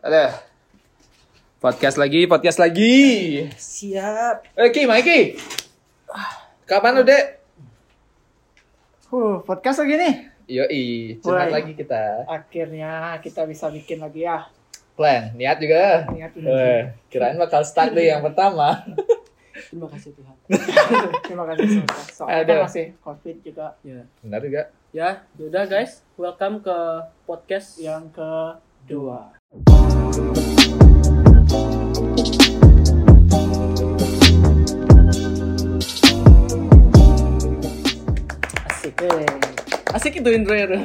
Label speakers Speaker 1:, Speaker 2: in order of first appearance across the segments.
Speaker 1: Ada. Podcast lagi, podcast lagi.
Speaker 2: Siap.
Speaker 1: Eh, Ki, Mikey. Kapan lu, Dek?
Speaker 2: Huh, podcast lagi nih.
Speaker 1: Yoi, cepat
Speaker 2: Woi.
Speaker 1: lagi kita.
Speaker 2: Akhirnya kita bisa bikin lagi ya.
Speaker 1: Plan, niat juga.
Speaker 2: Niat ini.
Speaker 1: Weh, kirain bakal start deh yang pertama.
Speaker 2: Terima kasih Tuhan. Terima kasih semesta. Soalnya
Speaker 1: Ada.
Speaker 2: kan masih COVID juga
Speaker 3: Ya,
Speaker 1: Benar juga.
Speaker 3: ya, yaudah guys, welcome ke podcast yang
Speaker 2: yang kedua.
Speaker 3: asik.
Speaker 2: Eh,
Speaker 3: Asik itu intronya tuh.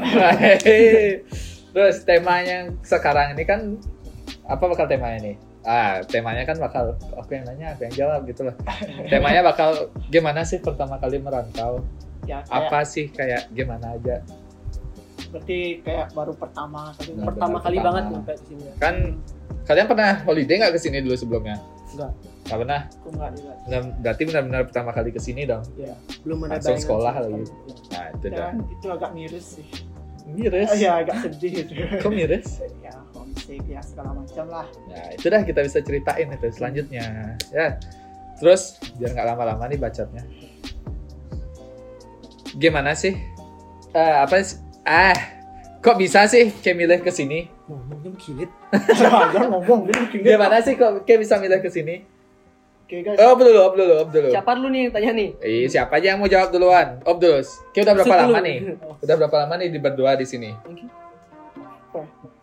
Speaker 1: Hei. Terus temanya sekarang ini kan apa bakal temanya nih? Ah, temanya kan bakal aku yang nanya, aku yang jawab gitu loh. Temanya bakal gimana sih pertama kali merantau?
Speaker 2: ya kayak,
Speaker 1: Apa sih kayak gimana aja?
Speaker 2: berarti kayak baru pertama kali.
Speaker 1: Nah,
Speaker 3: Pertama
Speaker 1: benar,
Speaker 3: kali
Speaker 1: pertama.
Speaker 3: banget nyampe di sini. ya.
Speaker 1: Kan kalian pernah holiday nggak kesini dulu sebelumnya?
Speaker 3: Enggak,
Speaker 1: Nggak pernah.
Speaker 2: Aku nggak lihat.
Speaker 1: Benar- Berarti benar-benar pertama kali kesini dong.
Speaker 2: Iya.
Speaker 3: belum ada
Speaker 1: Langsung
Speaker 3: bayangan
Speaker 1: sekolah
Speaker 3: sama
Speaker 1: lagi.
Speaker 3: sekali. Ya.
Speaker 1: Nah, itu dah.
Speaker 2: Dan Iya, itu agak miris sih.
Speaker 1: Miris.
Speaker 2: Oh, ya agak sedih itu.
Speaker 1: Kok miris?
Speaker 2: ya homesick ya segala macam lah.
Speaker 1: Nah, itu dah kita bisa ceritain itu selanjutnya. Ya. Terus biar nggak lama-lama nih bacotnya. Gimana sih? Eh, apa sih? Ah, kok bisa sih kayak milih ke sini?
Speaker 3: Ngomongnya kilit.
Speaker 2: Jangan ngomong dia bikin dia.
Speaker 1: Gimana sih kok kayak bisa milih ke sini?
Speaker 2: Oke guys.
Speaker 1: Oh, dulu, op dulu, op dulu.
Speaker 3: Siapa lu nih yang tanya nih?
Speaker 1: Eh, siapa aja yang mau jawab duluan? Op dulu. Kayak udah berapa
Speaker 3: Maksud
Speaker 1: lama
Speaker 3: lu?
Speaker 1: nih?
Speaker 2: Oh,
Speaker 1: Udah berapa lama nih di berdua di sini?
Speaker 3: Mungkin.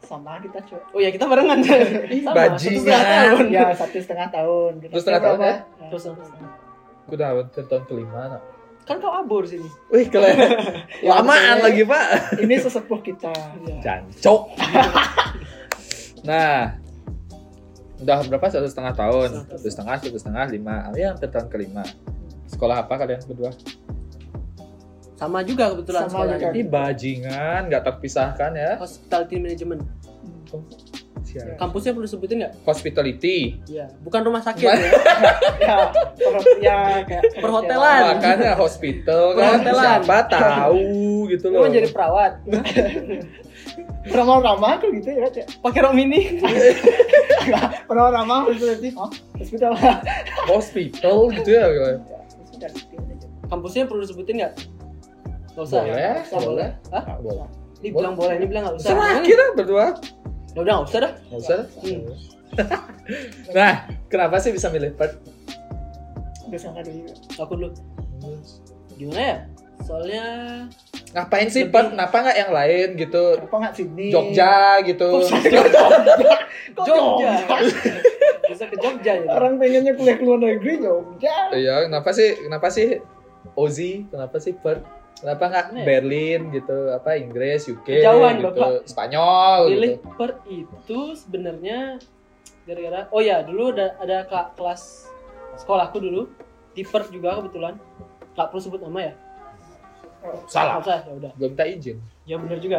Speaker 2: Sama kita cuy.
Speaker 3: Oh ya, kita barengan. Sama,
Speaker 1: Bajingan.
Speaker 3: satu setengah tahun.
Speaker 2: Ya satu setengah tahun. Kita
Speaker 1: Terus setengah tahun
Speaker 2: berapa?
Speaker 1: ya?
Speaker 2: Ya,
Speaker 3: Terus
Speaker 2: satu setengah.
Speaker 1: Aku udah tahun kelima. nak.
Speaker 3: Kan kau abor sini.
Speaker 1: Wih, kalian
Speaker 3: Ya,
Speaker 1: lamaan
Speaker 2: betul.
Speaker 1: lagi, Iya. Pak.
Speaker 2: Iya. ini sesepuh kita
Speaker 1: Jancok. nah, udah berapa satu setengah tahun, satu setengah, satu setengah, lima, ya hampir tahun kelima. Sekolah apa kalian berdua?
Speaker 3: Sama juga kebetulan
Speaker 2: Sama
Speaker 3: sekolahnya.
Speaker 2: juga.
Speaker 1: Ini bajingan, nggak terpisahkan ya?
Speaker 3: Hospitality Management.
Speaker 1: Sial.
Speaker 3: Kampusnya perlu sebutin nggak?
Speaker 1: Hospitality,
Speaker 3: Iya. Bukan rumah sakit
Speaker 1: Ba-
Speaker 3: ya.
Speaker 2: ya, per- ya kayak
Speaker 3: Perhotelan.
Speaker 1: makanya hospital kan
Speaker 3: Perhotelan.
Speaker 1: siapa tahu gitu
Speaker 3: Lu
Speaker 1: loh.
Speaker 3: mau jadi perawat.
Speaker 2: ramah-ramah tuh gitu ya kayak
Speaker 3: Pakai rok mini.
Speaker 2: ramah-ramah itu nanti oh hospital lah
Speaker 1: Hospital gitu ya?
Speaker 2: Ya, hospital gitu aja.
Speaker 3: Kampusnya perlu sebutin nggak? Gak usah.
Speaker 1: Boleh,
Speaker 3: Nggak usah,
Speaker 1: boleh.
Speaker 3: Hah?
Speaker 1: Nggak boleh.
Speaker 3: Ini bilang boleh, ini bilang nggak usah.
Speaker 1: Serah
Speaker 3: Gimana?
Speaker 1: kita berdua.
Speaker 3: Ya udah nggak usah dah.
Speaker 1: Nggak usah.
Speaker 3: Hmm.
Speaker 1: Nah, kenapa sih bisa milih Perth?
Speaker 2: Udah sama dulu
Speaker 3: Aku dulu. Gimana ya? Soalnya
Speaker 1: ngapain sih
Speaker 3: Lebih-
Speaker 1: Perth? Kenapa nggak yang lain gitu?
Speaker 2: kenapa nggak sini
Speaker 1: Jogja gitu.
Speaker 2: Kok
Speaker 3: Jogja. Bisa ke Jogja ya.
Speaker 2: orang pengennya kuliah ke luar negeri Jogja
Speaker 1: Iya, kenapa sih? Kenapa sih Ozi? Kenapa sih Perth? Kenapa nggak
Speaker 3: Nih.
Speaker 1: Berlin gitu? Apa Inggris, UK
Speaker 3: Kejauhan,
Speaker 1: gitu,
Speaker 3: Bapak.
Speaker 1: Spanyol
Speaker 3: Pilih
Speaker 1: gitu.
Speaker 3: per itu sebenarnya gara-gara oh ya dulu ada ada kak kelas sekolahku dulu di Perth juga kebetulan nggak perlu sebut nama ya
Speaker 1: Salah.
Speaker 3: Nggak usah ya udah
Speaker 1: Belum minta izin.
Speaker 3: ya benar juga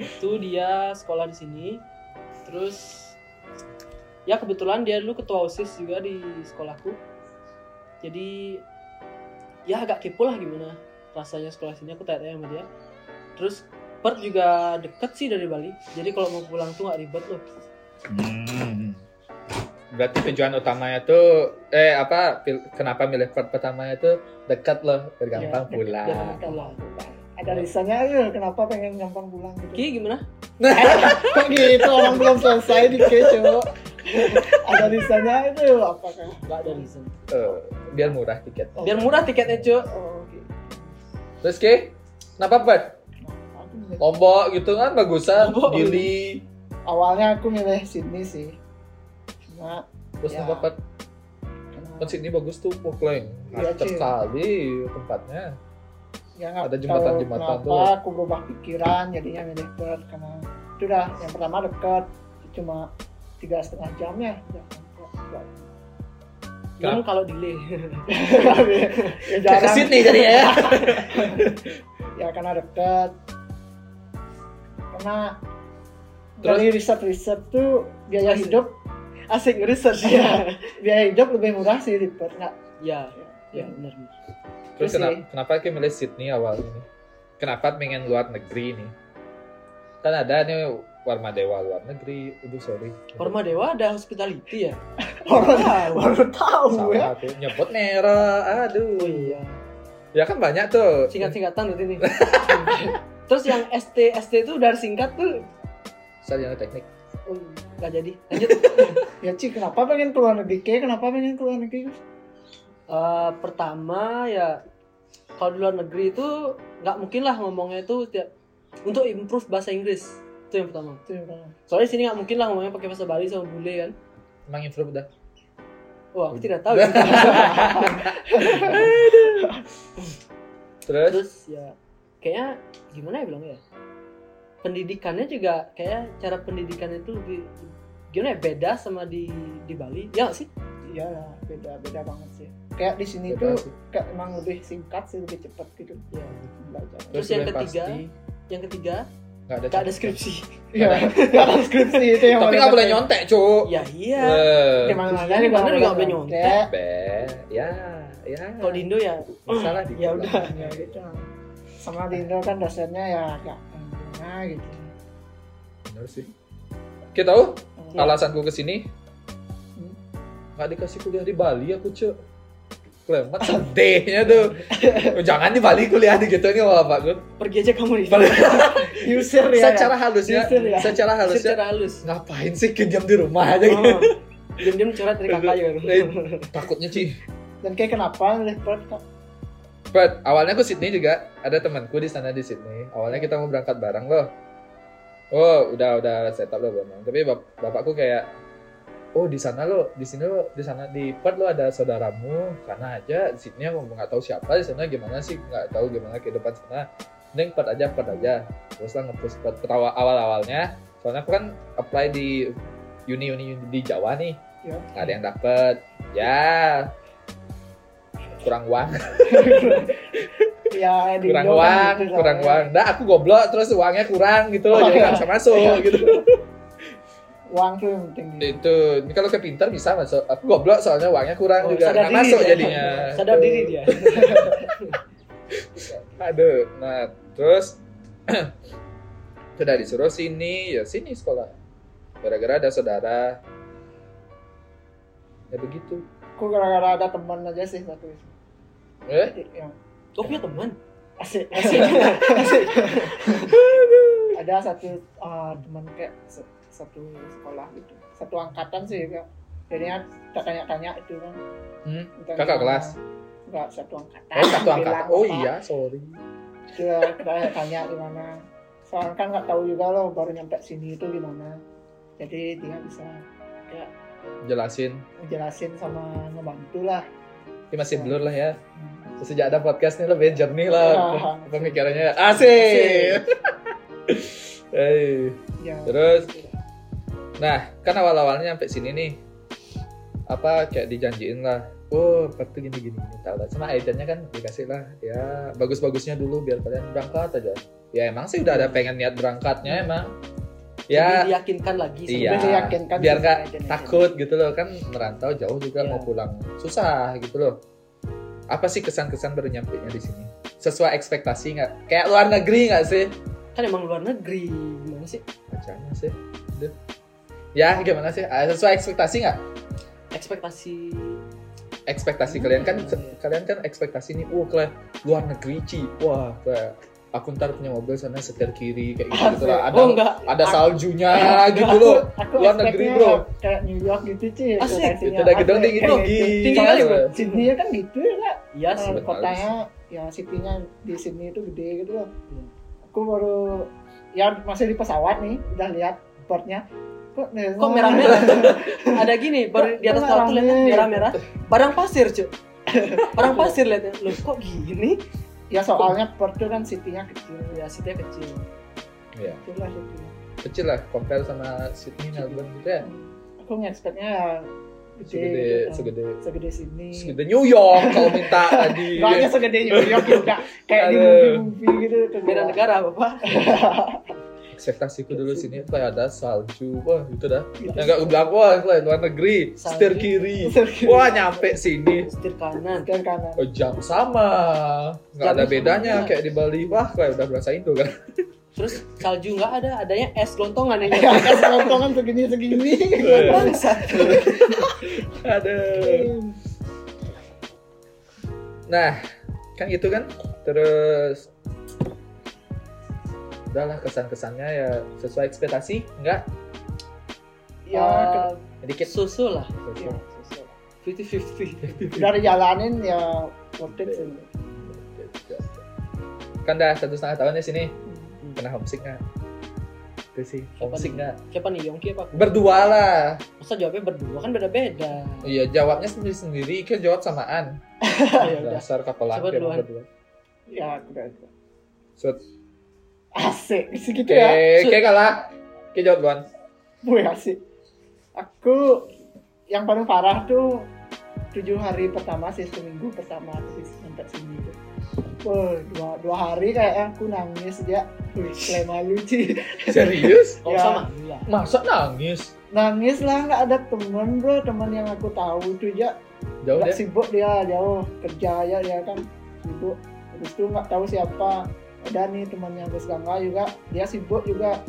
Speaker 3: itu dia sekolah di sini terus ya kebetulan dia dulu ketua osis juga di sekolahku jadi ya agak kepo lah gimana rasanya sekolah sini aku tanya sama dia terus Perth juga deket sih dari Bali jadi kalau mau pulang tuh nggak ribet loh
Speaker 1: Berarti tujuan utamanya tuh eh apa? pil- kenapa milih Perth pertamanya tuh dekat loh, biar gampang
Speaker 3: Iya,
Speaker 2: deket,
Speaker 1: pulang.
Speaker 3: biar gampang.
Speaker 2: Kalau ada lisannya eh, kenapa pengen gampang pulang gitu
Speaker 3: Ki gimana
Speaker 2: kok gitu orang belum selesai di keco ada lisannya kan?" itu apakah
Speaker 3: nggak ada reason
Speaker 1: Eh, biar murah tiket.
Speaker 2: Oh.
Speaker 3: biar murah tiketnya cuy
Speaker 2: oh, gitu.
Speaker 1: Terus Ki, kenapa Perth?
Speaker 2: Aku milih-
Speaker 1: Lombok gitu kan bagusan,
Speaker 3: Lombok.
Speaker 1: Gili.
Speaker 2: awalnya aku milih Sydney sih cuma
Speaker 1: Terus
Speaker 2: Ya.
Speaker 1: kenapa Perth? Kan
Speaker 2: karena
Speaker 1: sini bagus tuh Auckland.
Speaker 2: Iya,
Speaker 1: Acak
Speaker 2: cuy.
Speaker 1: sekali tempatnya.
Speaker 2: ya
Speaker 1: ada
Speaker 2: nggak tahu
Speaker 1: jembatan-jembatan
Speaker 2: kenapa
Speaker 1: tuh.
Speaker 2: aku berubah pikiran jadinya milih Perth karena itu dah yang pertama dekat cuma tiga setengah jam ya udah sampai.
Speaker 3: bilang kalau delay
Speaker 2: ya
Speaker 1: Ya, ke
Speaker 2: jarang
Speaker 1: Sydney jadinya ya.
Speaker 2: ya karena dekat karena
Speaker 1: Terus?
Speaker 2: dari riset-riset tuh biaya
Speaker 3: Asik.
Speaker 2: hidup
Speaker 3: asik research
Speaker 2: ya biaya hidup lebih murah sih di Perth nggak
Speaker 3: ya ya benar
Speaker 1: Terus
Speaker 2: Terus
Speaker 1: kenapa,
Speaker 2: sih.
Speaker 1: kenapa kayak milih Sydney awal ini? Kenapa pengen luar negeri nih? Kan ada nih Warma Dewa luar negeri, aduh sorry.
Speaker 3: Horma Dewa ada hospitality ya?
Speaker 2: Orang
Speaker 3: Tahu.
Speaker 2: baru tahu ya.
Speaker 1: Salah aku nyebut merah, aduh.
Speaker 3: Oh iya.
Speaker 1: Ya kan banyak tuh.
Speaker 3: Singkat-singkatan berarti nih. Terus yang ST ST itu dari singkat tuh
Speaker 1: Sarjana teknik.
Speaker 3: oh, nggak jadi. Lanjut.
Speaker 2: Ya Ci, kenapa pengen keluar negeri? Kayak kenapa pengen keluar negeri?
Speaker 3: Eh, pertama ya kalau di luar negeri itu nggak mungkin lah ngomongnya itu tiap untuk improve bahasa Inggris itu yang pertama.
Speaker 2: Itu yang pertama.
Speaker 3: Soalnya di sini nggak mungkin lah ngomongnya pakai bahasa Bali sama bule kan.
Speaker 1: Emang improve udah.
Speaker 3: Wah, aku tidak tahu. ya.
Speaker 1: Terus
Speaker 3: terus ya kayaknya gimana ya bilangnya ya? pendidikannya juga kayak cara pendidikannya itu lebih gimana ya beda sama di di Bali ya nggak sih
Speaker 2: Iya, beda beda banget sih. Kayak di sini
Speaker 1: Beda
Speaker 2: tuh
Speaker 1: sih.
Speaker 2: kayak emang lebih singkat sih, lebih cepat gitu.
Speaker 3: ya.
Speaker 2: Belajar.
Speaker 3: terus yang
Speaker 1: udah
Speaker 3: ketiga?
Speaker 1: pasti
Speaker 3: yang ketiga
Speaker 1: nggak ada.
Speaker 3: gak ada skripsi
Speaker 2: Iya, dalam skripsi itu yang
Speaker 1: Tapi nggak boleh
Speaker 2: penting.
Speaker 1: nyontek, Cuk.
Speaker 3: ya iya
Speaker 1: Oh. Eh,
Speaker 2: Di mana-mana juga
Speaker 3: Di mana juga
Speaker 2: nggak boleh
Speaker 3: nggak boleh
Speaker 2: nyontek.
Speaker 1: Be, ya, ya.
Speaker 3: kalau di Indo ya
Speaker 1: Masalah di
Speaker 3: ya udah
Speaker 2: Ya gitu. Sama di Indo kan dasarnya ya agak gimana gitu.
Speaker 1: Bener sih. Kita tahu
Speaker 2: Hmm.
Speaker 3: Iya.
Speaker 1: alasanku kesini
Speaker 2: Hmm.
Speaker 1: nggak dikasih kuliah di Bali aku cek klemat sedihnya tuh jangan di Bali kuliah di gitu nih bapak gue
Speaker 3: pergi aja kamu nih
Speaker 2: User ya.
Speaker 1: secara halusnya
Speaker 2: Jujur ya.
Speaker 1: secara halusnya
Speaker 3: iya. secara halus
Speaker 1: ngapain sih kejam di rumah aja gitu.
Speaker 3: oh. diam-diam curhat dari kakak ya
Speaker 1: Eh, takutnya sih
Speaker 2: Dan kayak kenapa milih Perth kok?
Speaker 1: But awalnya aku Sydney juga ada temanku di sana di Sydney. Awalnya kita mau berangkat bareng loh. Oh udah udah setup loh memang. Tapi bap- bapakku kayak oh di sana lo di sini lo di sana di Perth lo ada saudaramu sana aja di Sydney aku nggak tahu siapa di sana gimana sih nggak tahu gimana kehidupan sana. Neng Perth aja Perth aja. Terus lah ngepus Perth Pertawa- awal awalnya. Soalnya aku kan apply di uni uni di Jawa nih.
Speaker 2: Ya.
Speaker 1: Nggak ada yang dapet. Ya kurang uang
Speaker 2: Ya di
Speaker 1: kurang
Speaker 2: Indo kan
Speaker 1: uang,
Speaker 2: gitu
Speaker 1: kurang
Speaker 2: soalnya.
Speaker 1: uang. Nah, aku goblok terus uangnya kurang gitu,
Speaker 2: Oh,
Speaker 1: jadi
Speaker 2: iya.
Speaker 1: nggak bisa masuk
Speaker 2: Iya.
Speaker 1: gitu.
Speaker 2: Uang tuh yang penting. gitu.
Speaker 1: Itu, ini kalau ke pintar bisa masuk. Aku goblok soalnya uangnya kurang
Speaker 3: Oh,
Speaker 1: juga, nggak
Speaker 3: sadar diri
Speaker 1: masuk
Speaker 3: dia.
Speaker 1: jadinya.
Speaker 3: sadar diri dia
Speaker 1: Aduh, nah terus sudah disuruh sini, ya sini sekolah. Gara-gara ada saudara. Ya begitu.
Speaker 2: Aku gara-gara ada teman aja sih satu.
Speaker 1: Eh,
Speaker 2: Yang
Speaker 3: kau punya teman
Speaker 2: asik asik asik ada satu uh, teman kayak se- satu sekolah gitu satu angkatan sih kak jadinya tak tanya-tanya itu kan
Speaker 1: hmm,
Speaker 2: tentang
Speaker 1: Kakak
Speaker 2: gimana.
Speaker 1: kelas?
Speaker 2: enggak satu angkatan
Speaker 1: oh satu
Speaker 2: bilang,
Speaker 1: angkatan. Oh
Speaker 2: Pak.
Speaker 1: iya, sorry.
Speaker 2: Dia tanya Iya, tanya gimana soalnya kan nggak tahu juga loh baru nyampe sini itu gimana jadi dia bisa
Speaker 1: Jelasin.
Speaker 2: ngejelasin sama ngebantu lah
Speaker 1: Ini masih
Speaker 3: Iya.
Speaker 2: Oh.
Speaker 1: blur lah ya.
Speaker 2: Hmm.
Speaker 1: Sejak ada podcast ini lebih jernih lah.
Speaker 2: Ah,
Speaker 1: pemikirannya asik. Hei.
Speaker 2: ya.
Speaker 1: Terus? Nah, kan awal-awalnya sampai sini nih apa kayak dijanjiin lah. Oh, pasti gini gini gini tahu lah. Sama editannya kan dikasih lah ya bagus-bagusnya dulu biar kalian berangkat aja. Ya emang sih udah ada pengen niat berangkatnya emang.
Speaker 3: jadi
Speaker 1: Ya
Speaker 3: diyakinkan lagi sama
Speaker 1: Iya.
Speaker 2: Udah diyakinkan
Speaker 1: biar
Speaker 2: sih,
Speaker 1: nggak
Speaker 2: diyakinkan.
Speaker 1: takut gitu loh kan merantau jauh juga
Speaker 3: Iya.
Speaker 1: mau pulang susah gitu loh. Apa sih kesan-kesan baru nyampe di sini? Sesuai ekspektasi nggak? Kayak luar negeri nggak sih?
Speaker 3: kan emang luar negeri gimana sih
Speaker 1: Acaranya sih. Aduh. Ya gimana sih? Ah, Sesuai ekspektasi nggak?
Speaker 3: ekspektasi
Speaker 1: Ekspektasi
Speaker 3: Hmm.
Speaker 1: kalian kan kalian kan ekspektasi nih, wah kalian luar negeri ci, wah kayak aku ntar punya mobil sana setir kiri kayak gitu, gitu lah. Ada
Speaker 3: oh enggak
Speaker 1: ada
Speaker 2: Aku-
Speaker 1: saljunya
Speaker 2: Aku-
Speaker 1: gitu loh.
Speaker 2: aku
Speaker 1: Luar
Speaker 2: expect-nya
Speaker 1: negeri, bro.
Speaker 2: kayak New York gitu sih
Speaker 3: Asik.
Speaker 1: Itu udah gedung Gitu. tinggi tinggi.
Speaker 3: Iya, gitu. Tinggi kali, Bro.
Speaker 2: Sydney ya gitu. kan gitu ya Kak.
Speaker 3: iya sih
Speaker 1: Betul.
Speaker 2: kotanya ya city-nya di Sydney itu gede gitu loh aku baru ya masih di pesawat nih udah lihat portnya kok,
Speaker 3: Kok merah-merah? ada gini baru di atas
Speaker 2: Kok
Speaker 3: kapal tuh liatnya
Speaker 2: rame?
Speaker 3: merah-merah barang pasir cuy barang pasir liatnya loh kok gini
Speaker 2: ya soalnya port itu kan city-nya kecil
Speaker 3: ya city kecil
Speaker 1: Iya,
Speaker 2: kecil lah city-nya.
Speaker 1: kecil lah compare sama Sydney Melbourne gitu ya.
Speaker 2: aku nge-expect-nya ya gede
Speaker 1: Segede
Speaker 3: Iya,
Speaker 2: gitu.
Speaker 1: segede
Speaker 2: segede sini
Speaker 1: segede New York kalau minta tadi.
Speaker 2: Gak hanya segede New York juga kayak di
Speaker 1: Aduh.
Speaker 2: movie-movie gitu ke
Speaker 3: beda negara bapak
Speaker 1: Ekspektasiku dulu
Speaker 3: Iya
Speaker 1: sini kayak ada salju, wah gitu dah. Yang nggak bilang wah kalian luar negeri,
Speaker 3: Salju.
Speaker 1: setir kiri.
Speaker 2: Wah,
Speaker 1: Wah nyampe sini
Speaker 3: Iya, setir kanan
Speaker 2: kan kanan.
Speaker 1: Oh, jam sama nggak
Speaker 3: Jam
Speaker 1: ada
Speaker 3: sama,
Speaker 1: bedanya
Speaker 3: iya.
Speaker 1: kayak di Bali wah kayak udah berasa Indo kan
Speaker 3: Terus salju nggak ada, adanya es lontongan yang
Speaker 2: Ya, kan selontongan segini-segini.
Speaker 3: Bangsa.
Speaker 1: Aduh. Nah, kan gitu kan. Terus udahlah kesan-kesannya ya sesuai ekspektasi enggak
Speaker 2: Ya,
Speaker 1: Ah.
Speaker 3: Ya,
Speaker 1: sedikit
Speaker 3: susu lah.
Speaker 1: Oke.
Speaker 2: Ya, susah.
Speaker 3: 50-50.
Speaker 2: Dari jalanin ya worth it sih.
Speaker 1: kan dah satu setengah tahun di sini pernah homesick nggak Hmm. itu sih homesick
Speaker 3: nih?
Speaker 1: nggak
Speaker 3: Siapa nih Yongki apa? aku?
Speaker 1: berdua lah
Speaker 3: Masa jawabnya berdua kan beda-beda.
Speaker 1: iya jawabnya sendiri sendiri kan jawab samaan Ah,
Speaker 3: ya udah.
Speaker 1: dasar kapal laki
Speaker 3: Coba
Speaker 1: emang
Speaker 3: duluan.
Speaker 1: berdua
Speaker 2: Ya, aku udah.
Speaker 1: Sud.
Speaker 2: Asik,
Speaker 1: Oke,
Speaker 2: segitu ya.
Speaker 3: Sud.
Speaker 1: oke kalah. Oke jawab duluan.
Speaker 2: Gue asik. Aku yang paling parah tuh tujuh hari pertama sih seminggu pertama aku bisa sampai sini tuh. Wah, dua, dua hari kayaknya aku nangis ya. Wih, lema lucu.
Speaker 1: Serius?
Speaker 3: Kalau
Speaker 2: Ya.
Speaker 3: sama gila.
Speaker 1: Masa nangis?
Speaker 2: Nangis lah, nggak ada temen bro, teman yang aku tahu itu ya
Speaker 1: Jauh deh.
Speaker 2: Nggak sibuk dia jauh kerja ya dia kan sibuk terus tuh nggak tahu siapa ada nih temannya Gus Gangga juga dia sibuk juga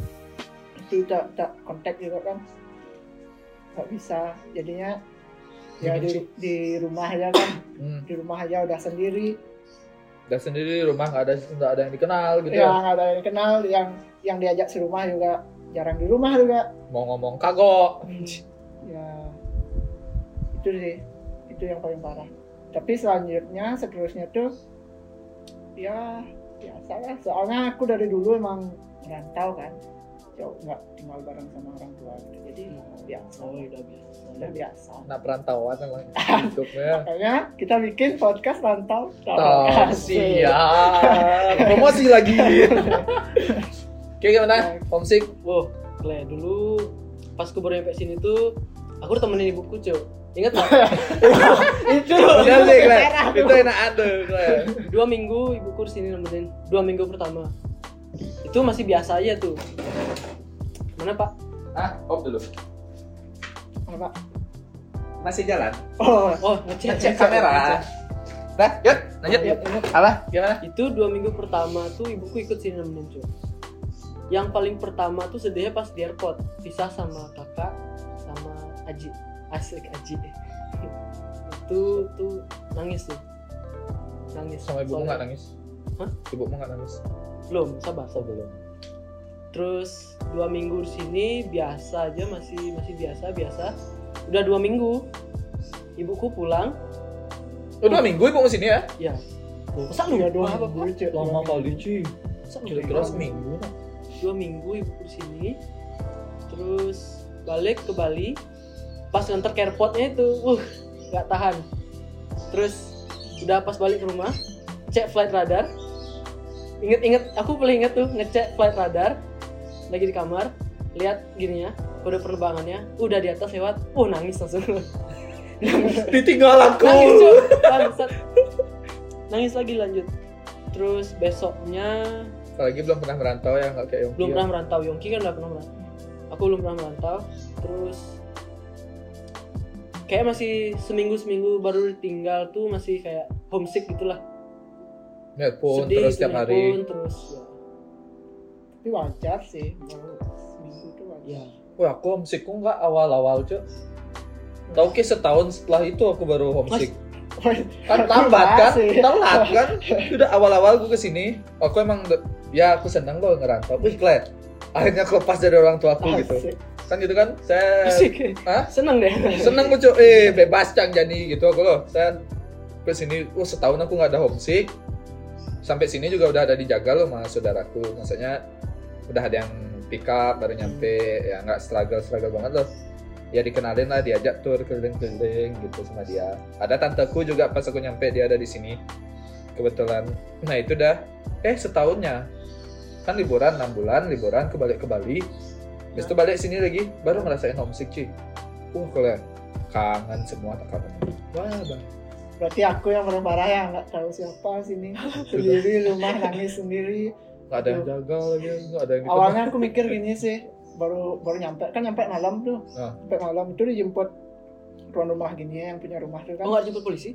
Speaker 2: itu tak tak kontak juga kan nggak bisa jadinya ya di, di rumah aja kan
Speaker 1: Hmm.
Speaker 2: di rumah aja udah sendiri
Speaker 1: Udah sendiri di rumah nggak ada nggak ada yang dikenal gitu
Speaker 2: ya
Speaker 1: ya.
Speaker 2: nggak ada yang kenal yang yang diajak si rumah juga jarang di rumah juga
Speaker 1: Mau ngomong kagok.
Speaker 2: ya itu sih itu yang paling parah tapi selanjutnya seterusnya tuh ya biasa lah soalnya aku dari dulu emang merantau kan jauh nggak tinggal bareng sama orang tua gitu. jadi biasa
Speaker 3: Oh, udah biasa.
Speaker 2: udah biasa
Speaker 1: Nah perantauan emang hidupnya.
Speaker 2: makanya kita bikin podcast rantau
Speaker 1: Tau, ya. siap. Promosi lagi. Nah. Oke gimana? Homesick?
Speaker 3: Wow, Kle, dulu pas gue baru nyampe sini tuh aku temenin ibuku, Cuk. Ingat nggak?
Speaker 2: itu
Speaker 1: Bener sih, Glenn.
Speaker 2: parah.
Speaker 1: Itu enak ada, Glenn.
Speaker 3: dua minggu ibuku di sini nemenin dua minggu pertama itu masih biasa aja tuh mana pak
Speaker 1: Ah, op dulu.
Speaker 2: Apa?
Speaker 1: Masih jalan?
Speaker 2: oh
Speaker 3: oh ngecek
Speaker 1: Cek kamera. Nah, yuk, iya. lanjut.
Speaker 2: Yuk, yuk.
Speaker 1: Alah, gimana?
Speaker 3: itu dua minggu pertama tuh ibuku ikut sini nemenin cuy yang paling pertama tuh sedihnya pas di airport pisah sama kakak sama Aji asik Aji itu tuh nangis tuh nangis
Speaker 1: Sama ibumu
Speaker 3: Soalnya-
Speaker 1: nggak nangis?
Speaker 3: Hah?
Speaker 1: Ibumu nggak nangis?
Speaker 3: belum sabar
Speaker 1: Oh, belum.
Speaker 3: terus dua minggu di sini biasa aja masih masih biasa biasa udah dua minggu ibuku pulang
Speaker 1: Oh, dua minggu ibu kesini ya?
Speaker 3: ya masa
Speaker 2: ya
Speaker 3: lu
Speaker 2: dua
Speaker 3: apa
Speaker 2: minggu Cuk.
Speaker 1: cuy.
Speaker 3: masa lu
Speaker 1: Kira-kira
Speaker 3: lupa?
Speaker 1: seminggu.
Speaker 3: dua minggu ibuku di sini terus balik ke Bali pas nganter ke airportnya itu uh nggak tahan terus udah pas balik ke rumah cek flight radar inget-inget aku paling inget tuh ngecek flight radar lagi di kamar lihat gininya kode penerbangannya udah di atas lewat uh nangis langsung
Speaker 1: Ditinggal aku.
Speaker 3: nangis cuy bangsat nangis lagi lanjut terus besoknya
Speaker 1: Apalagi belum pernah merantau ya, nggak kayak Yongki.
Speaker 3: belum
Speaker 1: ya.
Speaker 3: pernah merantau Yongki kan udah pernah merantau aku belum pernah merantau terus kayak masih seminggu seminggu baru tinggal tuh masih kayak homesick gitulah
Speaker 1: Nelpon terus
Speaker 3: gitu,
Speaker 1: tiap hari.
Speaker 3: nelpon, terus
Speaker 2: tapi wajar sih baru seminggu tuh wajar
Speaker 3: ya, ya.
Speaker 1: Wah, aku homesickku nggak awal-awal cuy. Tahu ki setahun setelah itu aku baru homesick. Kan lambat kan?
Speaker 2: Masih.
Speaker 1: Telat kan? Udah awal-awal gue kesini, aku emang de- ya aku seneng loh ngerantau. Wih, Glenn. Akhirnya aku lepas dari orang
Speaker 3: Oh,
Speaker 1: tuaku gitu.
Speaker 2: Asik.
Speaker 1: Kan gitu kan? Saya
Speaker 3: Asik.
Speaker 1: Hah?
Speaker 3: seneng deh
Speaker 1: seneng gue cuy eh bebas cang jadi gitu aku loh saya ke sini wah setahun aku nggak ada homesick sampai sini juga udah ada dijaga loh sama saudaraku maksudnya udah ada yang pick up baru nyampe ya nggak struggle struggle banget loh ya dikenalin lah diajak tur keliling-keliling gitu sama dia ada tanteku juga pas aku nyampe dia ada di sini kebetulan nah itu dah eh setahunnya kan liburan 6 bulan liburan ke balik ke Bali Habis itu balik sini lagi baru ngerasain homesick Uh, cuy wah kalau yang kangen semua tak kangen wah bang
Speaker 2: Berarti aku yang paling parah ya nggak tahu siapa sini sendiri rumah nangis sendiri.
Speaker 1: nggak ada yang jaga lagi nggak ada yang gitu
Speaker 2: Awalnya aku mikir gini sih baru baru nyampe kan nyampe malam tuh
Speaker 1: Ah.
Speaker 2: nyampe malam itu dijemput tuan rumah gini ya, yang punya rumah tuh kan
Speaker 3: oh nggak jemput polisi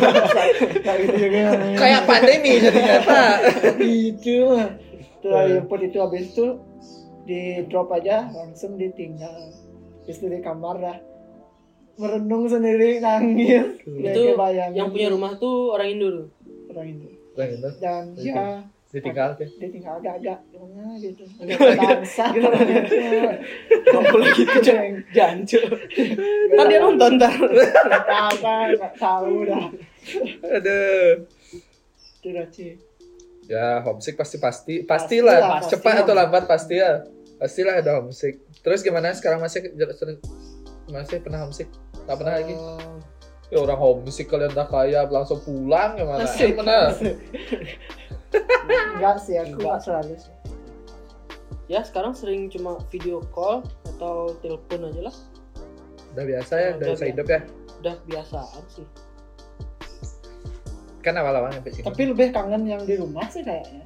Speaker 2: kayak gitu juga
Speaker 1: kayak pandemi jadinya pak
Speaker 2: gitu lah setelah jemput itu habis itu di drop aja langsung ditinggal habis itu di kamar dah merenung sendiri nangis
Speaker 1: Itu
Speaker 2: Kayak kebayang gitu.
Speaker 3: yang punya rumah tuh orang Indo tuh.
Speaker 2: orang itu
Speaker 1: Lah gitu.
Speaker 2: dan
Speaker 1: Oke.
Speaker 2: ya
Speaker 1: Ditinggal tuh.
Speaker 2: ditinggal agak-agak gimana gitu bangsa
Speaker 3: Gitu. Gak boleh gitu,
Speaker 2: ceng
Speaker 3: Jancuk. Ntar dia nonton ntar.
Speaker 2: apa nggak tahu dah
Speaker 1: Aduh.
Speaker 2: itu dah Ci.
Speaker 1: Ya homesick pasti pasti pastilah
Speaker 2: Pastilah,
Speaker 1: cepat
Speaker 2: pastilah.
Speaker 1: atau lambat pasti ya. Pastilah ada homesick. Terus gimana sekarang masih sering- masih pernah homesick? Tak pernah lagi.
Speaker 2: Eh,
Speaker 1: Ya orang homesick kalian udah kaya langsung pulang ya, gimana?
Speaker 3: Asik.
Speaker 1: Pernah.
Speaker 2: enggak sih aku nggak selalu sih.
Speaker 3: Ya sekarang sering cuma video call atau telepon aja lah.
Speaker 1: Udah biasa ya, udah
Speaker 3: Udah
Speaker 1: bisa
Speaker 3: biasa.
Speaker 1: hidup ya.
Speaker 3: Udah biasaan sih.
Speaker 1: Kan awal-awal nyampe sini.
Speaker 2: tapi lebih kangen yang di rumah sih kayaknya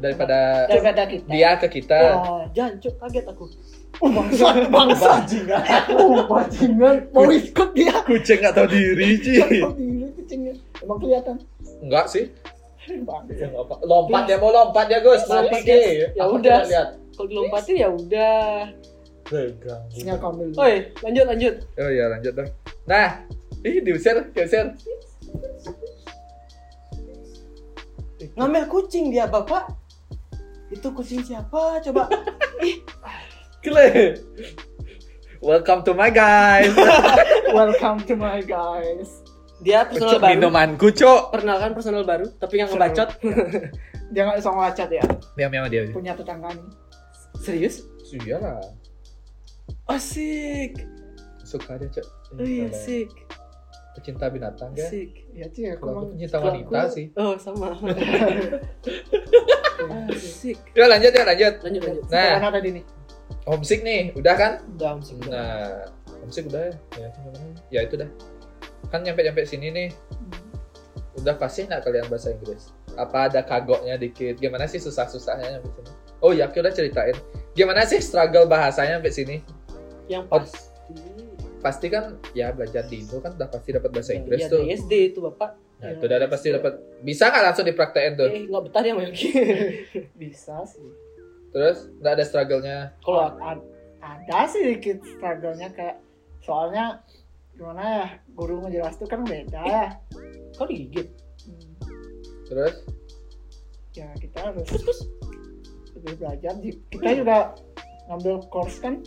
Speaker 1: Daripada
Speaker 2: daripada kita
Speaker 1: dia ke kita.
Speaker 2: Oh,
Speaker 3: Ya, Jancuk kaget aku.
Speaker 2: bangsa bangsa bajingan oh bajingan mau ikut dia
Speaker 1: Kucing nggak tahu diri, Ci.
Speaker 2: Jatuh
Speaker 3: Iya.
Speaker 2: dulu kucingnya emang kelihatan
Speaker 1: Enggak sih.
Speaker 2: bangsa
Speaker 1: Ya, nggak apa- Lompat dia mau lompat dia, Gus. Mati,
Speaker 3: Guys,
Speaker 1: Ki.
Speaker 3: ya
Speaker 1: Aku
Speaker 3: udah.
Speaker 1: tidak Lihat.
Speaker 3: Kalau dilompatin ya udah.
Speaker 2: sinyal kamu dulu
Speaker 3: Oi, lanjut lanjut.
Speaker 1: Oh iya lanjut dong. Nah, ih diusir, diusir.
Speaker 3: Ngambil kucing dia, Bapak. Itu kucing siapa? Coba. eh.
Speaker 1: Kle. Welcome to my guys.
Speaker 2: welcome to my guys
Speaker 3: Dia personal
Speaker 1: Cuk,
Speaker 3: baru.
Speaker 1: minumanku, Cuk.
Speaker 3: Perkenalkan personal baru, tapi nggak ngebacot.
Speaker 2: dia nggak bisa ngacat ya
Speaker 1: Diam diam dia.
Speaker 2: punya tetangga nih
Speaker 3: Serius?
Speaker 1: Iyalah.
Speaker 3: Oh, Asik.
Speaker 1: Suka dia, Cuk.
Speaker 3: Wih, asik.
Speaker 1: Pecinta binatang ya.
Speaker 3: Asik.
Speaker 2: ya sih aku
Speaker 1: Kalau gitu.
Speaker 2: emang
Speaker 1: aku pecinta
Speaker 2: kalau
Speaker 1: wanita
Speaker 2: aku-
Speaker 1: sih.
Speaker 3: Oh, sama.
Speaker 2: Ya,
Speaker 3: Asik.
Speaker 1: Ya lanjut ya lanjut.
Speaker 3: Lanjut lanjut.
Speaker 1: Nah,
Speaker 2: mana tadi nih
Speaker 1: homesick nih, udah kan?
Speaker 3: Udah, Om Sing.
Speaker 1: Nah, homesick udah ya. Ya, ya itu dah. Kan nyampe-nyampe sini nih,
Speaker 3: Hmm.
Speaker 1: udah pasti nggak kalian bahasa Inggris? Apa ada kagoknya dikit? Gimana sih susah-susahnya nyampe sini? Oh ya, aku udah ceritain. Gimana sih struggle bahasanya sampai sini?
Speaker 3: Yang pasti.
Speaker 1: Pasti kan ya belajar di Indo kan udah pasti dapat bahasa Inggris
Speaker 3: Iya,
Speaker 1: tuh.
Speaker 3: dari SD itu, Bapak.
Speaker 1: Nah, itu udah ada pasti dapat. Bisa nggak langsung dipraktein tuh?
Speaker 3: Eh, nggak betah dia sama Yogi.
Speaker 2: bisa sih
Speaker 1: Terus nggak ada struggle-nya.
Speaker 3: Kalau aku-
Speaker 2: A- ada sih dikit struggle-nya kayak soalnya gimana ya guru ngejelas tuh kan beda ya
Speaker 3: kau digigit.
Speaker 2: Hmm,
Speaker 1: Terus
Speaker 2: ya kita harus
Speaker 3: Terus terus.
Speaker 2: lebih belajar Di- kita juga ngambil course kan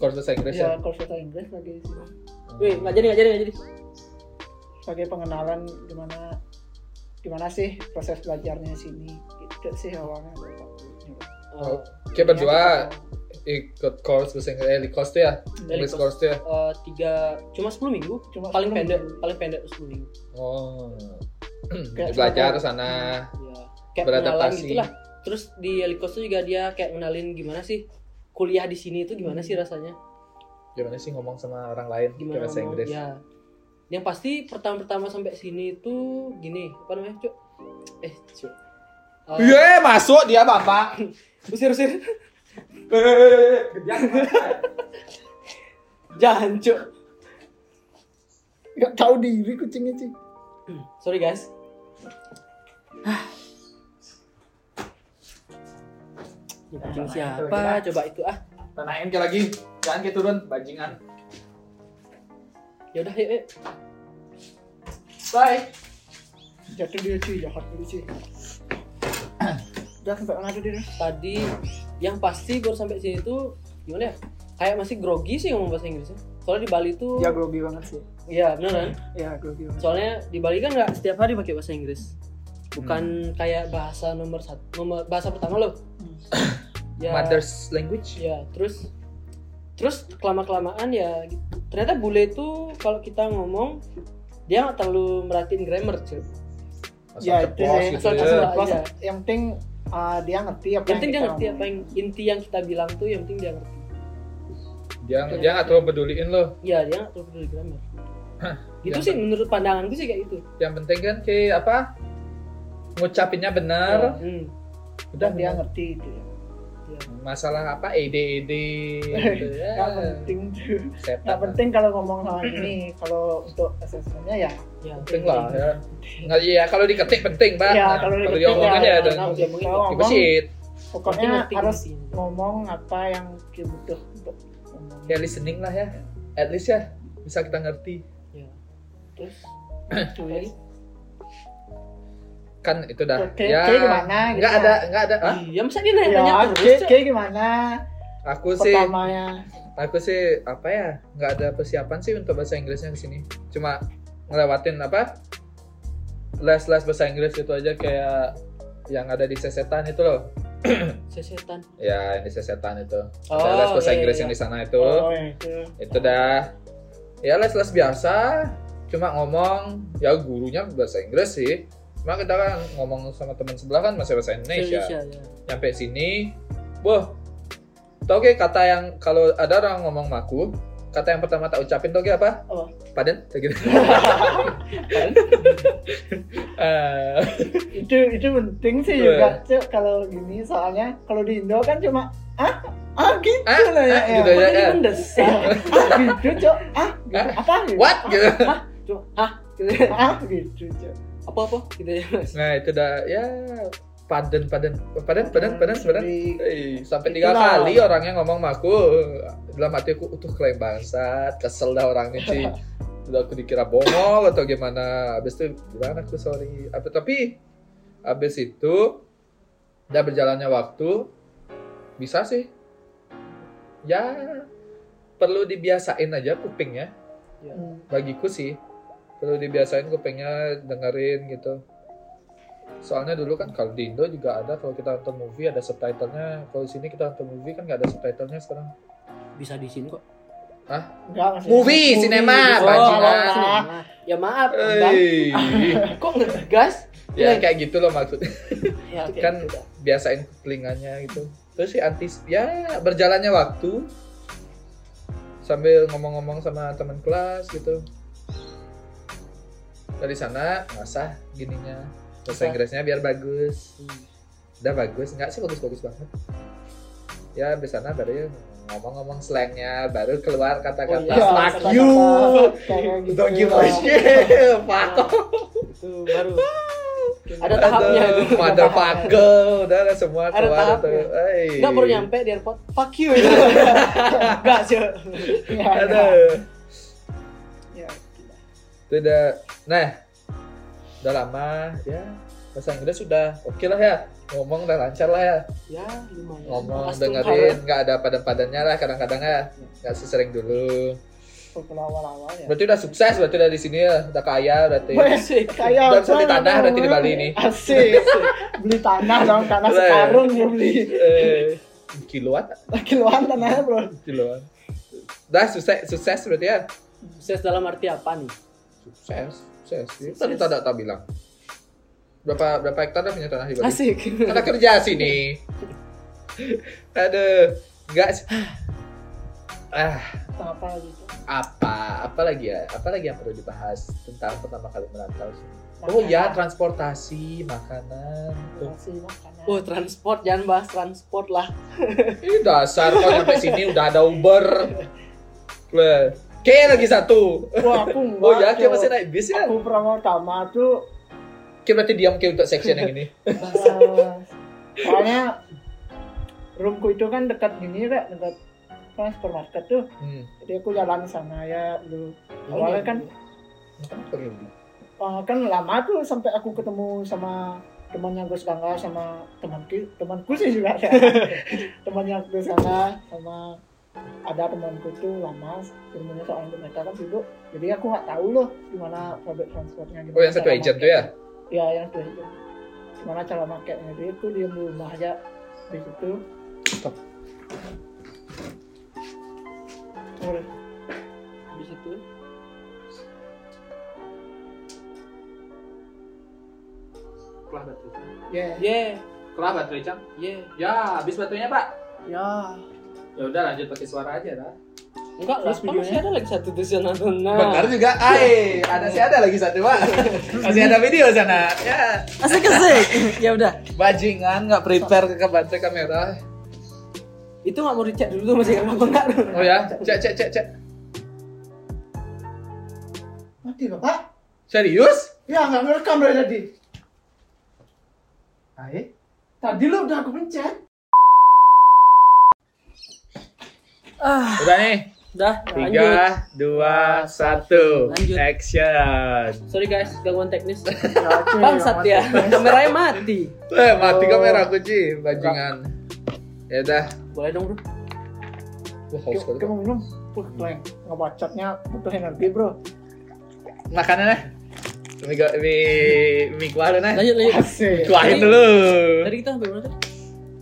Speaker 1: course bahasa Inggris ya.
Speaker 2: ya course bahasa Inggris lagi sih.
Speaker 3: Iya. Wih, nggak jadi nggak jadi nggak jadi.
Speaker 2: sebagai pengenalan gimana gimana sih proses belajarnya sini gitu sih awalnya
Speaker 1: Oh,
Speaker 3: Eh,
Speaker 1: Oke, berdua ikut course bahasa Inggris, eh, course tuh ya, English
Speaker 3: course.
Speaker 1: course tuh ya.
Speaker 3: eh, tiga cuma 10 minggu
Speaker 2: cuma
Speaker 3: paling
Speaker 2: sebelum-
Speaker 3: pendek paling pendek 10 minggu
Speaker 1: Oh.
Speaker 2: Kayak
Speaker 1: belajar
Speaker 2: suatu-
Speaker 1: sana.
Speaker 3: ya kayak pengenalan
Speaker 1: Beradaptasi.
Speaker 3: gitu lah terus di Elikos tuh juga dia kayak ngenalin gimana sih kuliah di sini itu gimana sih rasanya
Speaker 1: Gimana sih ngomong sama orang lain pakai
Speaker 3: gimana
Speaker 1: bahasa
Speaker 3: ngomong,
Speaker 1: Inggris?
Speaker 3: ya yang pasti pertama-pertama sampai sini itu gini apa namanya cuk eh cuk Eh,
Speaker 1: Ye, Iya, masuk dia bapak.
Speaker 3: usir
Speaker 1: Eh,
Speaker 3: usir
Speaker 1: Enggak
Speaker 3: jangan cuk
Speaker 2: nggak tahu diri kucingnya sih
Speaker 3: sorry guys Ini kucing siapa coba itu ah
Speaker 1: tanain ke lagi. Jangan ke turun, bajingan.
Speaker 3: yaudah Ya yuk, yuk.
Speaker 1: Bye.
Speaker 2: jatuh dia sih jahat dulu sih udah sampai mana tadi Ras?
Speaker 3: tadi yang pasti gue sampai sini tuh gimana ya kayak masih grogi sih ngomong bahasa Inggrisnya soalnya di Bali tuh
Speaker 2: ya grogi banget sih
Speaker 3: iya bener kan
Speaker 2: ya grogi banget
Speaker 3: soalnya di Bali kan nggak setiap hari pakai bahasa Inggris bukan kayak bahasa nomor satu nomor bahasa pertama lo ya
Speaker 1: Mother's language.
Speaker 3: ya terus terus kelama kelamaan ya gitu. ternyata bule itu kalau kita ngomong dia nggak terlalu merhatiin grammar cuy
Speaker 1: Asal
Speaker 2: ya itu
Speaker 1: ceplos
Speaker 2: sih
Speaker 1: gitu
Speaker 3: asal
Speaker 1: ya.
Speaker 3: ceplos.
Speaker 2: Plus,
Speaker 3: Iya.
Speaker 2: yang penting uh, dia ngerti apa
Speaker 3: yang penting dia
Speaker 2: kita
Speaker 3: ngerti apa
Speaker 2: ngomongin.
Speaker 3: yang inti yang kita bilang tuh yang penting dia ngerti
Speaker 1: Dia dia nggak terlalu peduliin lo.
Speaker 3: ya dia nggak terlalu peduli grammar gitu
Speaker 1: Yang
Speaker 3: sih
Speaker 1: pen-
Speaker 3: menurut pandanganku sih kayak gitu
Speaker 1: Yang penting kan kayak apa? Ngucapinnya benar.
Speaker 3: hmm.
Speaker 1: Udah
Speaker 2: Ya, Dan dia ngerti itu ya
Speaker 1: masalah apa EDED gitu ya.
Speaker 2: nggak penting tuh
Speaker 1: Sepak.
Speaker 2: nggak penting kalau ngomong sama ini kalau untuk asesmennya ya
Speaker 3: ya
Speaker 1: penting lah ya. Nggak, iya kalau diketik penting, Pak.
Speaker 2: ya
Speaker 1: Nah,
Speaker 2: kalau
Speaker 1: kalau
Speaker 2: diketik
Speaker 1: diomongin
Speaker 2: ya,
Speaker 1: ya
Speaker 2: nah,
Speaker 1: dan
Speaker 2: kalau ngomong
Speaker 1: kebesit.
Speaker 2: pokoknya
Speaker 3: Ngerti, ngerti,
Speaker 2: Ya, harus
Speaker 3: ngerti.
Speaker 2: ngomong apa yang kita butuh untuk ngomong.
Speaker 1: ya listening lah ya at least ya bisa kita ngerti
Speaker 3: Ya. Terus
Speaker 2: Itu ya.
Speaker 1: kan itu dah
Speaker 2: Oke,
Speaker 1: ya
Speaker 2: oke, gimana gitu
Speaker 1: nggak
Speaker 2: ya?
Speaker 1: ada nggak ada Hah?
Speaker 3: Iya, masa dia nanya-nanya
Speaker 2: Ya,
Speaker 3: terus?
Speaker 2: kayak
Speaker 3: Cak?
Speaker 2: kayak gimana?
Speaker 1: aku sih
Speaker 2: Pertamanya
Speaker 1: aku sih apa ya nggak ada persiapan sih untuk bahasa Inggrisnya ke sini cuma ngelewatin apa les-les bahasa Inggris itu aja kayak yang ada di sesetan itu loh
Speaker 3: Sesetan.
Speaker 1: ya yang di sesetan itu ada les bahasa
Speaker 3: iya,
Speaker 1: Inggris
Speaker 3: iya.
Speaker 1: yang di sana itu
Speaker 2: Oh, itu.
Speaker 1: itu dah ya les-les biasa cuma ngomong ya gurunya bahasa Inggris sih cuma kita kan ngomong sama teman sebelah kan masih bahasa Indonesia,
Speaker 3: Indonesia, ya.
Speaker 1: nyampe sini boh tau gak kata yang kalau ada orang ngomong maku kata yang pertama tak ucapin tau gak apa
Speaker 2: Apa?
Speaker 1: paden Tau gitu Eh,
Speaker 2: itu itu penting sih
Speaker 1: Betul.
Speaker 2: juga Cuk, kalau gini soalnya kalau di Indo kan cuma ah ah gitu
Speaker 1: ah,
Speaker 2: lah ya,
Speaker 1: ah,
Speaker 2: ya.
Speaker 1: gitu ya
Speaker 3: Makanya
Speaker 1: kan
Speaker 3: mendesak.
Speaker 2: ah gitu cok ah gitu.
Speaker 1: Ah,
Speaker 2: apa gitu
Speaker 1: what gitu
Speaker 3: Cuma, ah, gitu.
Speaker 2: ah gitu cok
Speaker 3: Apa-apa gitu ya.
Speaker 1: nah itu dah ya paden paden paden paden paden paden
Speaker 2: Jadi,
Speaker 1: Eh, sampai tiga
Speaker 2: Itulah.
Speaker 1: kali orangnya ngomong sama aku dalam hati aku utuh klaim bangsat kesel dah orangnya sih udah aku dikira bongol atau gimana habis itu bilang aku sorry apa tapi habis itu udah berjalannya waktu bisa sih ya perlu dibiasain aja kupingnya
Speaker 2: hmm,
Speaker 1: bagiku sih perlu dibiasain kupingnya dengerin gitu soalnya dulu kan kalau di Indo juga ada kalau kita nonton movie ada subtitlenya kalau di sini kita nonton movie kan nggak ada subtitlenya sekarang
Speaker 3: Bisa di sini kok.
Speaker 2: enggak maksudnya
Speaker 1: Movie, sinema,
Speaker 2: gitu.
Speaker 1: Bang,
Speaker 2: Oh,
Speaker 1: sinema.
Speaker 2: apa,
Speaker 3: nah. Ya maaf, Bang.
Speaker 1: Hey.
Speaker 3: Kok ngegas?
Speaker 1: ya kayak gitu loh maksudnya
Speaker 3: Ya, oke,
Speaker 1: Kan-
Speaker 3: sudah.
Speaker 1: biasain telinganya gitu terus sih antis ya berjalannya waktu sambil ngomong-ngomong sama teman kelas gitu dari sana ngasah gininya bahasa
Speaker 3: Ngasah.
Speaker 1: Inggrisnya biar bagus
Speaker 3: Hmm.
Speaker 1: udah bagus nggak sih bagus bagus banget ya di sana baru ngomong-ngomong slangnya baru keluar kata-kata
Speaker 3: Oh, iya,
Speaker 1: fuck
Speaker 2: kata-kata,
Speaker 1: you
Speaker 2: kayak gitu
Speaker 1: don't give a
Speaker 2: lah.
Speaker 1: shit fuck off
Speaker 3: Itu baru. Ada
Speaker 1: Aduh,
Speaker 3: tahapnya itu.
Speaker 1: motherfucker udah lah semua
Speaker 3: Ada
Speaker 1: keluar
Speaker 3: tahapnya.
Speaker 1: tuh. Hey.
Speaker 3: Enggak baru nyampe di airport. Fuck you. Enggak, sih.
Speaker 2: Iya,
Speaker 1: ada
Speaker 2: iya.
Speaker 1: itu udah nah udah lama ya bahasa Inggris sudah oke lah ya ngomong udah lancar lah ya
Speaker 3: Ya, lumayan.
Speaker 1: ngomong
Speaker 3: Astung
Speaker 1: dengerin nggak ada padan-padannya lah kadang-kadang ya nggak sesering dulu
Speaker 2: Pukul awal-awal ya
Speaker 1: Berarti udah sukses, berarti udah di sini ya, udah kaya berarti.
Speaker 3: kalah. Asik.
Speaker 2: kayak
Speaker 1: Udah bisa beli
Speaker 2: apa,
Speaker 1: tanah
Speaker 2: namanya?
Speaker 1: berarti di Bali ini.
Speaker 2: asik beli tanah dong tanah
Speaker 1: Lah, ya.
Speaker 2: sekarung dia beli
Speaker 1: Eh, kiloan,
Speaker 2: kiloan tanahnya bro
Speaker 1: kiloan. Udah sukses, sukses berarti ya.
Speaker 3: Sukses dalam arti apa nih?
Speaker 1: Sukses, sukses. Itu Tadi tak tak bilang. Berapa berapa hektar dah punya tanah di Bali?
Speaker 3: Asik.
Speaker 1: Karena kerja sini. Aduh, enggak sih. Ah,
Speaker 2: apa gitu
Speaker 1: apa apa lagi ya? Apa lagi yang perlu dibahas tentang pertama kali merantau sini? Oh ya, transportasi, makanan. Tuh.
Speaker 2: Masih makanan.
Speaker 3: Oh, transport jangan bahas transport lah.
Speaker 1: Ini dasar kau nyampe sini udah ada Uber. Wah, Kayak lagi satu.
Speaker 2: Wah, aku enggak.
Speaker 1: Oh ya, kayak
Speaker 2: Cok.
Speaker 1: masih naik bis ya.
Speaker 2: Aku Pratama utama tuh
Speaker 1: Kayak berarti diam kayak untuk section yang ini.
Speaker 2: eh, soalnya roomku itu kan dekat gini Kak, dekat kan supermarket tuh.
Speaker 1: Hmm.
Speaker 2: Jadi aku jalan ke sana ya dulu.
Speaker 1: Oh, iya.
Speaker 2: Awalnya kan
Speaker 1: Makan apa kayak gini?
Speaker 2: eh, kan lama tuh sampai aku ketemu sama temannya Gus Gangga sama temanku temanku sih juga ya. temannya Gus Gangga sama ada temanku tuh lama ilmunya soal mereka kan dulu jadi aku nggak tahu loh gimana public transportnya gimana
Speaker 1: Oh yang satu
Speaker 2: cara
Speaker 1: agent tuh ya?
Speaker 2: pakainya. ya yang dua itu gimana cara makainya jadi aku diem di rumah aja di situ
Speaker 1: Stop.
Speaker 2: Terus,
Speaker 3: di situ.
Speaker 1: Kelah baterai.
Speaker 2: ya
Speaker 3: Ye,
Speaker 1: Kelah baterai cang.
Speaker 3: ye.
Speaker 1: Ya, habis baterainya pak.
Speaker 2: ya
Speaker 1: Ya udah lanjut pakai suara aja lah.
Speaker 3: Enggak lah,
Speaker 2: Terus
Speaker 3: kan masih
Speaker 2: videonya?
Speaker 3: ada lagi satu tuh sana sana.
Speaker 1: Benar juga. Ai, ada sih ada lagi satu pak. Masih ada video sana. Ya,
Speaker 3: Asik asik. ya udah.
Speaker 1: bajingan nggak prepare ke baterai kamera.
Speaker 3: Itu nggak mau dicek dulu tuh masih kenapa enggak?
Speaker 1: Oh ya, cek cek cek cek.
Speaker 2: mati bapak
Speaker 1: Serius?
Speaker 2: ya nggak ngerekam dari tadi
Speaker 1: Ai.
Speaker 2: tadi lo udah aku pencet
Speaker 3: Ah,
Speaker 1: Udah nih.
Speaker 3: dah lanjut.
Speaker 1: Tiga, dua, satu,
Speaker 3: Lanjut.
Speaker 1: action.
Speaker 3: Sorry guys, gangguan teknis.
Speaker 2: Oke,
Speaker 3: Bangsat
Speaker 2: yang
Speaker 3: ya,
Speaker 2: mati.
Speaker 3: kameranya mati.
Speaker 1: Eh, mati
Speaker 3: Oh.
Speaker 1: kamera aku Ci, bajingan. Ya dah.
Speaker 3: Boleh dong bro.
Speaker 1: Wah, haus
Speaker 2: Kamu
Speaker 1: sekali.
Speaker 2: kamu minum. Wah, blank. Ngebacotnya butuh energi, Bro.
Speaker 1: Makannya nah. Mie, go- mie, mie kuah dulu nah.
Speaker 3: Lanjut lanjut.
Speaker 2: Asik.
Speaker 1: Kuahin dulu.
Speaker 3: Tadi kita sampai mana tadi?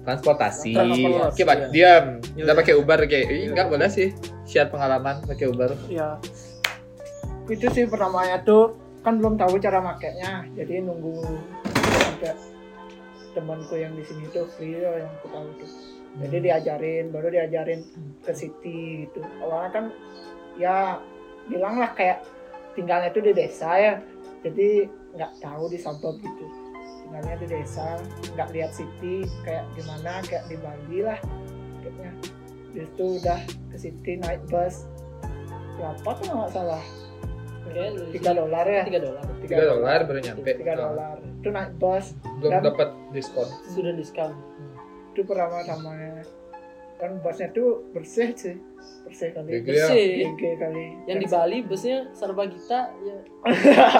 Speaker 1: Transportasi.
Speaker 2: Transportasi,
Speaker 1: Oke, Pak,
Speaker 3: iya.
Speaker 1: diam.
Speaker 3: Iya,
Speaker 1: Udah
Speaker 3: iya.
Speaker 1: pakai Uber kayak. Ih, enggak boleh sih. Share pengalaman pakai Uber.
Speaker 2: Ya. Itu sih pertamanya tuh kan belum tahu cara makainya. Jadi nunggu ada temanku yang di sini tuh free loh yang aku tahu tuh. Jadi diajarin, baru diajarin ke city gitu. Awalnya kan ya bilang lah kayak tinggalnya tuh di desa ya. Jadi nggak tahu di suburb gitu. Tinggalnya di desa, nggak lihat city kayak gimana, kayak di Bali lah. Kayaknya. Terus tuh udah ke city naik bus berapa tuh kalau nggak salah
Speaker 3: Oke,
Speaker 2: tiga dolar ya
Speaker 3: Tiga dolar.
Speaker 1: Tiga dolar baru nyampe.
Speaker 2: tiga dolar itu naik bus
Speaker 3: Kan?
Speaker 1: Belum
Speaker 2: Dan-
Speaker 1: dapat diskon.
Speaker 3: Sudah diskon.
Speaker 2: itu pertama-tamanya kan busnya tuh bersih sih bersih kali
Speaker 1: Gege.
Speaker 3: Bersih.
Speaker 2: GG kali
Speaker 3: Yang di
Speaker 2: Dan-
Speaker 3: Bali busnya serba kita ya.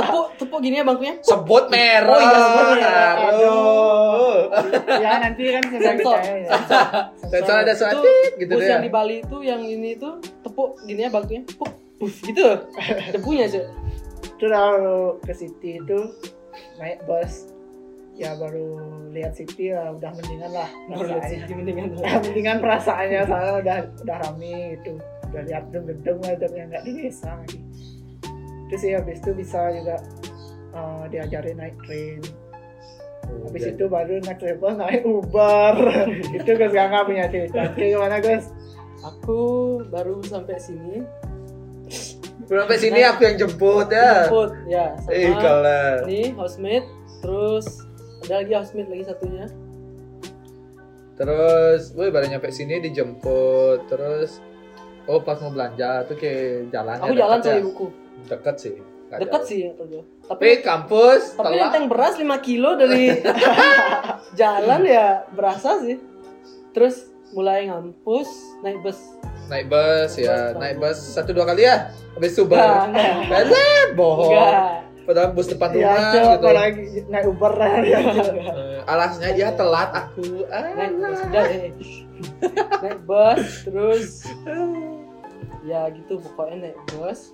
Speaker 3: tepuk tepuk gini ya bangkunya.
Speaker 1: Sebut merah.
Speaker 3: Oh iya, sebut merah.
Speaker 1: Aduh.
Speaker 2: ya nanti kan saya
Speaker 3: Sensor.
Speaker 2: percaya ya
Speaker 1: Dan soalnya ada suara
Speaker 3: Itu
Speaker 1: tit, gitu
Speaker 3: Bus
Speaker 1: deh.
Speaker 3: yang di Bali itu yang ini itu tepuk gini ya bangkunya. Puk, puf gitu. loh. Debunya sih.
Speaker 2: itu lalu ke city itu naik bus ya baru lihat city lah udah mendingan lah
Speaker 3: Menurut sih
Speaker 2: perasaannya.
Speaker 3: mendingan.
Speaker 2: Udah mendingan perasaannya soalnya udah udah rame gitu udah lihat gedung-gedung lah gedung yang nggak di desa lagi terus ya habis itu bisa juga eh, diajarin naik train habis
Speaker 1: Udah.
Speaker 2: itu baru naik travel naik Uber itu Gus Gangga punya cerita oke gimana Gus
Speaker 3: Aku baru sampai sini.
Speaker 1: Belum sampai sini aku yang jemput ya.
Speaker 3: Jemput ya
Speaker 1: Ih,
Speaker 3: sama
Speaker 1: kalah.
Speaker 3: ini housemate terus ada lagi housemate lagi satunya.
Speaker 1: Terus, woi baru nyampe sini dijemput. Terus Oh pas mau belanja tuh kayak jalan ya,
Speaker 3: Aku jalan sama ibuku.
Speaker 1: Deket sih Nggak
Speaker 3: Dekat
Speaker 1: jauh.
Speaker 3: sih atau jauh. Tapi
Speaker 1: Tapi kampus
Speaker 3: Tapi
Speaker 1: telat.
Speaker 3: nenteng beras 5 kilo dari jalan ya berasa sih. Terus mulai ngampus naik bus.
Speaker 1: Naik bus ya
Speaker 3: Bus,
Speaker 1: Naik
Speaker 3: bang.
Speaker 1: bus satu dua kali ya Habis
Speaker 3: Enggak,
Speaker 1: subar
Speaker 3: enggak,
Speaker 1: Bener bohong
Speaker 3: enggak.
Speaker 1: Padahal bus depan
Speaker 3: Iya,
Speaker 2: ya
Speaker 1: rumah
Speaker 2: coba
Speaker 1: gitu
Speaker 2: apalagi naik Uber lah ya coba.
Speaker 1: Eh, Alasnya ya telat aku
Speaker 3: Naik bus
Speaker 1: Alah.
Speaker 3: udah, eh. Naik bus terus ya gitu pokoknya naik bus,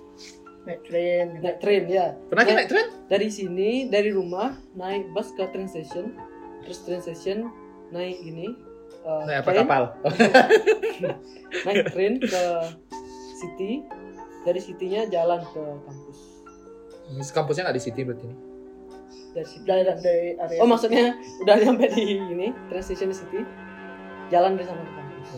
Speaker 2: naik train
Speaker 3: naik train ya.
Speaker 1: Pernah kan naik
Speaker 3: Naik-
Speaker 1: train?
Speaker 3: Dari sini dari rumah naik bus ke train station. Terus train station naik ini eh,
Speaker 1: Naik apa
Speaker 3: train,
Speaker 1: kapal?
Speaker 3: naik train ke city. Dari city-nya jalan ke kampus.
Speaker 1: Kampusnya nggak di city berarti nih
Speaker 3: Dari city
Speaker 2: dari dari area
Speaker 3: Oh maksudnya udah nyampe di ini Transition City jalan dari sana ke kampus.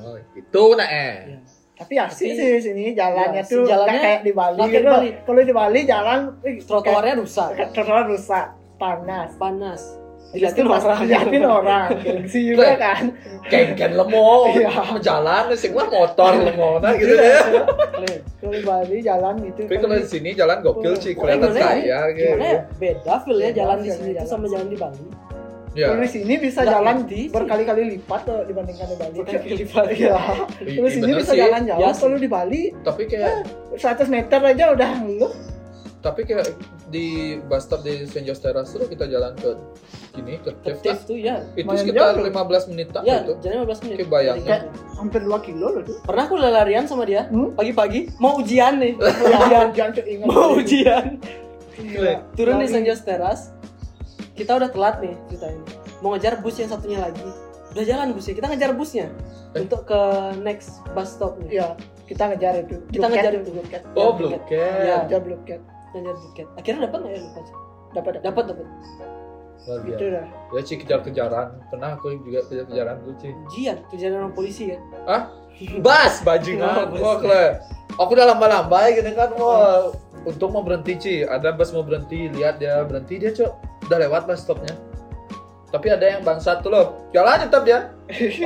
Speaker 1: Oh, itu nah eh.
Speaker 3: Iya.
Speaker 2: tapi asik
Speaker 3: Tapi-
Speaker 2: sih sini jalannya
Speaker 3: Iya,
Speaker 2: tuh nggak
Speaker 3: jalannya
Speaker 2: kayak di Bali
Speaker 3: nggak kayak
Speaker 2: gitu
Speaker 3: di Bali.
Speaker 2: kalau di Bali jalan eh,
Speaker 3: Trotoarnya
Speaker 2: kayak-
Speaker 3: rusak,
Speaker 2: kayak trotoar rusak panas
Speaker 3: panas.
Speaker 2: Dilihatin orang, dilihatin orang, gengsi juga kan
Speaker 1: Geng-geng lemo,
Speaker 2: Iya.
Speaker 1: mau jalan, sing lah motor lemo, nah gitu deh.
Speaker 3: Keren.
Speaker 2: Kalau di Bali jalan gitu
Speaker 1: Tapi kalau di sini jalan gokil sih,
Speaker 3: Pokoknya
Speaker 1: kelihatan
Speaker 3: gimana ya?
Speaker 1: kaya
Speaker 3: Gimana ya?
Speaker 1: gitu.
Speaker 3: Beda feel
Speaker 2: Iya,
Speaker 3: ya
Speaker 2: Beda
Speaker 3: jalan di
Speaker 2: feel-nya
Speaker 3: sini itu
Speaker 2: jalan.
Speaker 3: sama jalan di Bali.
Speaker 1: Ya,
Speaker 2: Kalau di sini bisa
Speaker 3: Nggak
Speaker 2: jalan
Speaker 3: ngerti sih.
Speaker 2: berkali-kali lipat loh dibandingkan di Bali.
Speaker 3: Berkali-kali lipat.
Speaker 2: Iya.
Speaker 1: i-
Speaker 2: Kalau di
Speaker 1: i-
Speaker 2: sini
Speaker 1: bener
Speaker 2: bisa
Speaker 1: sih.
Speaker 2: jalan jauh.
Speaker 3: Ya sih.
Speaker 2: Kalau di Bali
Speaker 1: Tapi kayak,
Speaker 2: 100 meter aja udah lu.
Speaker 1: tapi kayak di bus stop di St. George Terrace tuh kita jalan ke sini ke
Speaker 3: Tertib
Speaker 1: Tifta.
Speaker 3: tuh ya.
Speaker 1: Itu
Speaker 2: Lumayan
Speaker 1: sekitar
Speaker 2: jauh. Iya.
Speaker 1: 15 menit tak
Speaker 3: Ya,
Speaker 1: itu.
Speaker 3: jalan 15 menit.
Speaker 1: Kayak bayangin.
Speaker 3: Kayak-
Speaker 2: Hampir 2 kilo loh tuh.
Speaker 3: Pernah aku larian sama dia
Speaker 2: Hmm?
Speaker 3: pagi-pagi mau ujian nih.
Speaker 2: Jangan jangan keinget.
Speaker 3: mau ujian.
Speaker 2: Gila.
Speaker 3: Turun di
Speaker 2: Lari.
Speaker 3: St. John's Terrace. Kita udah telat nih ceritanya. Mau ngejar bus yang satunya lagi. Udah jalan busnya, kita ngejar busnya
Speaker 1: Eh.
Speaker 3: untuk ke next bus stopnya.
Speaker 2: Iya, kita ngejar itu. Blue
Speaker 3: Kita
Speaker 2: Cat
Speaker 3: ngejar
Speaker 2: itu Blue Cat.
Speaker 1: Oh, belum.
Speaker 3: Blue Cat. Iya.
Speaker 1: Cat.
Speaker 2: Ngejar Blue Cat.
Speaker 3: ngejar tiket akhirnya dapat nggak ya lupa
Speaker 2: Dapat dapat.
Speaker 3: dapat dapat
Speaker 1: Luar
Speaker 2: Itu
Speaker 1: biasa.
Speaker 2: Gitu dah.
Speaker 1: Ya sih kejar-kejaran. Pernah aku juga kejar-kejaran tuh sih.
Speaker 3: ujian kerjaan orang polisi kan
Speaker 1: Bas bajingan
Speaker 3: Wah, bas.
Speaker 1: wah kle. Aku udah lamba-lamba ya gini kan wah. Untung mau berhenti Ci, ada bus mau berhenti, lihat dia berhenti dia cok udah lewat bus stopnya. Tapi ada yang bangsat tuh loh, jalan tetap dia.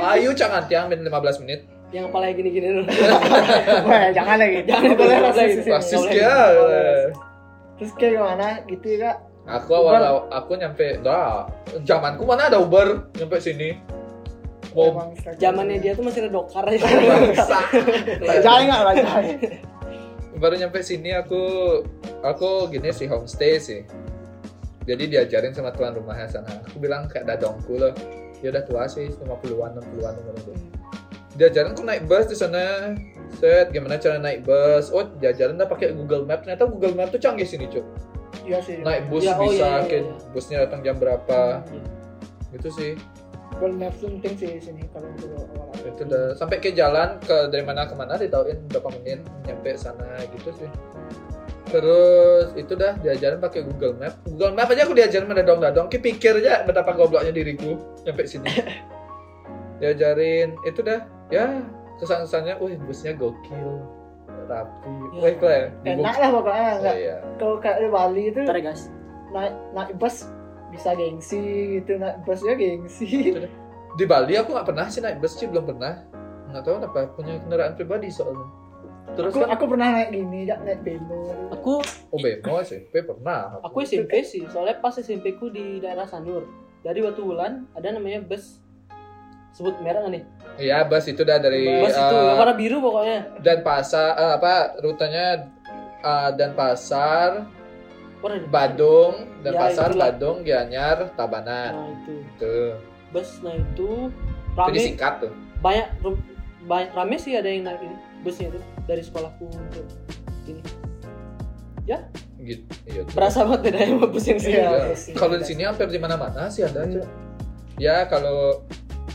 Speaker 1: Ayo cak tiang min 15 menit.
Speaker 3: yang kepala gini gini dulu
Speaker 2: Wah, jangan lagi.
Speaker 3: Jangan,
Speaker 2: boleh
Speaker 3: jangan lagi.
Speaker 2: lagi.
Speaker 1: Iya. Rasis
Speaker 3: Iya,
Speaker 1: ya,
Speaker 3: boleh.
Speaker 1: dia.
Speaker 2: Terus kayak gimana gitu ya, Kak?
Speaker 1: Aku awal aku nyampe dah zamanku mana ada Uber nyampe sini. Wow.
Speaker 2: Emang Instagram.
Speaker 3: zamannya dia tuh masih ada dokar ya. aja
Speaker 2: Rajai nggak rajai?
Speaker 1: baru nyampe sini aku aku gini sih homestay sih jadi diajarin sama tuan rumahnya sana aku bilang kayak dadongku loh dia udah tua sih 50-an 60-an umurnya dia gitu diajarin aku naik bus di sana set gimana cara naik bus oh diajarin dah pakai Google Maps ternyata Google Maps tuh canggih sini cuy
Speaker 2: Iya sih.
Speaker 1: naik bus
Speaker 3: Ya, oh
Speaker 1: bisa
Speaker 3: iya, iya,
Speaker 1: kayak
Speaker 3: iya.
Speaker 1: busnya datang jam berapa gitu sih
Speaker 2: Google Maps tuh penting sih sini kalau untuk orang.
Speaker 1: itu udah sampai ke jalan ke dari mana ke mana ditauin berapa menit nyampe sana gitu sih terus itu dah diajarin pakai Google Map Google Map aja aku diajarin mendadong dadong ki pikir aja betapa gobloknya diriku nyampe sini diajarin itu dah ya kesan kesannya wih busnya gokil rapi
Speaker 3: Ya.
Speaker 1: wih kle
Speaker 2: Iya. Enak lah pokoknya nggak.
Speaker 1: iya
Speaker 2: Kalau kayak di Bali itu
Speaker 3: Bentar ya guys
Speaker 2: naik naik bus bisa gengsi gitu naik busnya gengsi.
Speaker 1: di Bali aku nggak pernah sih naik bus sih belum pernah nggak tahu kenapa punya kendaraan pribadi soalnya terus
Speaker 2: Aku,
Speaker 1: kan oh,
Speaker 2: aku pernah naik gini, ya, naik bemo.
Speaker 3: Aku
Speaker 1: OBMO SMP pernah
Speaker 3: aku SMP sih Soalnya pas SMP ku di daerah Sanur Dari Watu Wulan ada namanya bus Sebut merek nggak nih?
Speaker 1: Iya, bus itu dah dari
Speaker 3: Bus itu
Speaker 1: eh,
Speaker 3: warna biru pokoknya
Speaker 1: dan pasar eh, apa rutenya eh, dan pasar
Speaker 3: Warna biru.
Speaker 1: Badung dan
Speaker 3: Ya,
Speaker 1: pasar
Speaker 3: itulah.
Speaker 1: Badung Gianyar Tabanan
Speaker 3: Nah itu
Speaker 1: tuh
Speaker 3: Bus nah itu
Speaker 1: itu
Speaker 3: Rame
Speaker 1: disingkat tuh
Speaker 3: banyak ru- banyak rame sih ada yang naik ini busnya itu dari sekolahku untuk ini
Speaker 1: gitu iya tuh.
Speaker 3: berasa banget bedanya sama bus yang sini
Speaker 2: Iya.
Speaker 1: Iya.
Speaker 2: sih.
Speaker 1: kalau di sini hampir di mana mana sih ada tuh ya kalau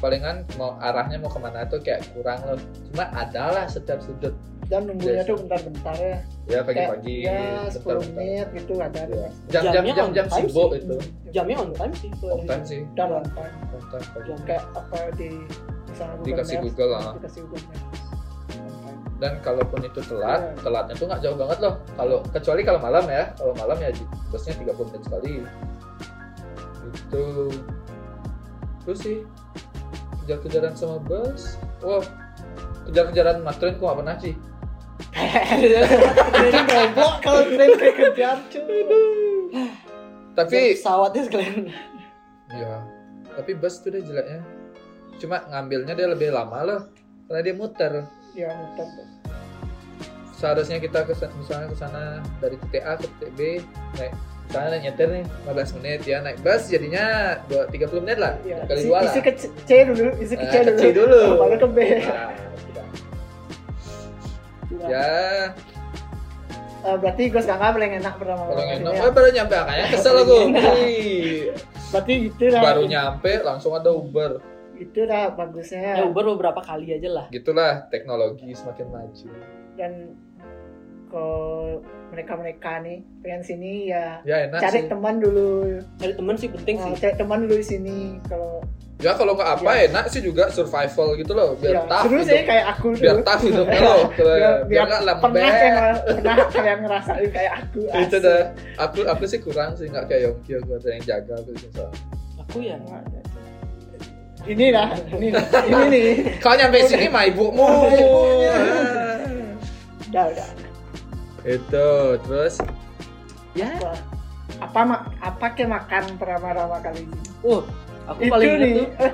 Speaker 1: palingan mau arahnya mau kemana tuh kayak kurang loh cuma ada lah setiap sudut
Speaker 2: Dan
Speaker 1: Yes.
Speaker 2: nunggunya tuh bentar-bentar ya.
Speaker 1: ya
Speaker 2: Kayak,
Speaker 1: pagi-pagi
Speaker 2: Ya, 10
Speaker 1: bentar-bentar.
Speaker 2: menit gitu ada.
Speaker 1: Iya. jam-jam
Speaker 3: Jamnya
Speaker 1: jam-jam
Speaker 3: on time
Speaker 1: sibuk
Speaker 3: sih.
Speaker 1: itu
Speaker 3: jamnya on time sih kalau
Speaker 1: on
Speaker 3: di
Speaker 1: time
Speaker 3: sini.
Speaker 1: sih
Speaker 2: Dan on time.
Speaker 1: on time pagi.
Speaker 3: Jam.
Speaker 2: Kayak apa di misalnya Google
Speaker 1: Dikasih
Speaker 2: Maps,
Speaker 1: Google, ah.
Speaker 2: Dikasih Google Maps. On time.
Speaker 1: dan kalaupun itu telat,
Speaker 2: Iya.
Speaker 1: telatnya tuh nggak jauh banget loh. Kalau kecuali kalau malam ya, kalau malam ya busnya 30 menit sekali. Itu terus sih kejar-kejaran sama bus. Wah, kejar-kejaran sama train gua nggak pernah sih.
Speaker 2: Jadi goblok kalau tren kayak kejar cuy.
Speaker 1: Tapi
Speaker 3: pesawatnya sekalian
Speaker 1: ya, tapi bus tuh deh jeleknya. Cuma ngambilnya dia lebih lama loh, karena dia muter.
Speaker 2: Ya muter. tuh.
Speaker 1: seharusnya kita ke misalnya ke sana dari titik A ke titik B naik misalnya naik nyetir nih 15 menit ya naik bus jadinya dua 30 menit lah
Speaker 2: Ya,
Speaker 1: kali
Speaker 2: isi,
Speaker 1: dua lah
Speaker 2: isi ke C- C dulu, isi ke
Speaker 1: Eh,
Speaker 2: C
Speaker 1: ke
Speaker 2: dulu.
Speaker 1: C dulu.
Speaker 2: Baru ke B.
Speaker 1: Nah, sudah.
Speaker 2: Iya.
Speaker 1: ya
Speaker 2: Eh, berarti Gus Gangga paling enak pertama
Speaker 1: kalau
Speaker 2: kali
Speaker 1: enak
Speaker 2: ya.
Speaker 1: gue baru nyampe makanya kesel aku
Speaker 2: Iya.
Speaker 1: Wih.
Speaker 2: Berarti itu lah.
Speaker 1: baru nyampe langsung ada Uber
Speaker 2: Itu lah bagusnya.
Speaker 3: ya Uber beberapa kali aja lah
Speaker 1: gitulah teknologi semakin maju
Speaker 2: Dan kalau mereka-mereka nih pengen sini ya
Speaker 1: ya enak
Speaker 2: cari
Speaker 1: sih
Speaker 2: teman dulu.
Speaker 3: cari temen sih penting
Speaker 2: Nah,
Speaker 3: sih
Speaker 2: cari teman dulu di sini kalau
Speaker 1: ya kalau nggak apa
Speaker 2: Ya.
Speaker 1: enak sih juga survival gitu loh biar
Speaker 2: ya,
Speaker 1: tough
Speaker 2: seru
Speaker 1: hidup-
Speaker 2: sih kayak aku
Speaker 1: biar
Speaker 2: dulu.
Speaker 1: tough hidupnya loh
Speaker 2: Biar-
Speaker 1: biar
Speaker 2: biar
Speaker 1: nggak
Speaker 2: pernah
Speaker 1: lembek
Speaker 2: kan pernah kalian ngerasain kayak aku
Speaker 1: itu
Speaker 2: asik.
Speaker 1: dah aku aku sih kurang sih nggak kayak Yongki aku ada yang jaga aku sih soalnya.
Speaker 3: aku ya
Speaker 2: ini lah ini ini nih
Speaker 1: kau nyampe sini mah ibumu
Speaker 2: Mah ibunya. udah udah
Speaker 1: itu terus ya
Speaker 2: Wah. apa ma- apa ke makan pertama-tama kali ini
Speaker 3: uh aku
Speaker 2: itu
Speaker 3: paling ingat
Speaker 2: nih
Speaker 3: tuh
Speaker 2: eh,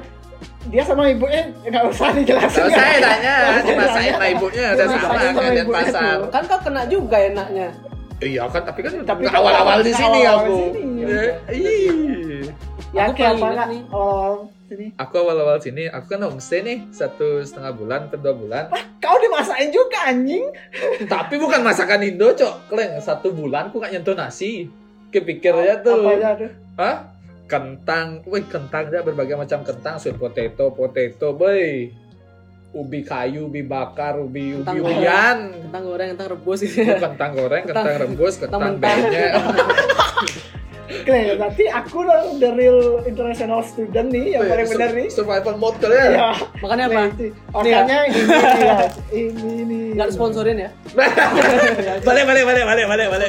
Speaker 2: dia sama ibunya nggak usah dijelasin ya.
Speaker 1: Tahu saya
Speaker 2: nggak?
Speaker 1: tanya dimasain sama ibunya udah
Speaker 2: Dimasain
Speaker 1: sama
Speaker 2: sama
Speaker 1: kan dan
Speaker 2: ibunya
Speaker 1: pasar
Speaker 2: tuh.
Speaker 3: kan kau kena juga enaknya
Speaker 1: iya kan tapi kan
Speaker 2: Tapi
Speaker 1: nggak
Speaker 2: kan
Speaker 1: awal-awal di
Speaker 2: nggak
Speaker 1: sini
Speaker 2: awal-awal
Speaker 1: aku
Speaker 2: di sini.
Speaker 1: Eh, ih.
Speaker 2: ya
Speaker 3: Aku
Speaker 2: kayak
Speaker 3: paling
Speaker 2: apa
Speaker 3: ingat
Speaker 2: nggak
Speaker 3: nih.
Speaker 2: awal sini
Speaker 1: aku awal-awal sini aku kan homestay nih satu setengah bulan atau dua bulan
Speaker 2: kau dimasain juga anjing
Speaker 1: tapi bukan masakan Indo cok kleng satu bulan aku nggak nyentuh nasi kepikir aja tuh
Speaker 2: apa ya? aja tuh
Speaker 1: Hah? Kentang, wih kentang ya berbagai macam kentang, sweet potato, potato, boy. Ubi kayu, ubi bakar, ubi
Speaker 3: Kentang
Speaker 1: ubi ubian.
Speaker 3: kentang goreng kentang rebus gitu
Speaker 1: Oh, kentang goreng, kentang
Speaker 3: Kentang-
Speaker 1: rebus, kentang
Speaker 3: kentang
Speaker 1: benyek.
Speaker 2: oke berarti aku udah the real international student nih Iya, yang
Speaker 1: Wih,
Speaker 2: paling
Speaker 1: sur-
Speaker 2: benar nih
Speaker 1: Survival mode kali ya.
Speaker 2: ya
Speaker 3: makanya apa Iya.
Speaker 2: Nah, itu. Orangnya ini ya. ini nih.
Speaker 3: nggak sponsorin ya
Speaker 1: Balik, balik, balik, balik, balik, balik.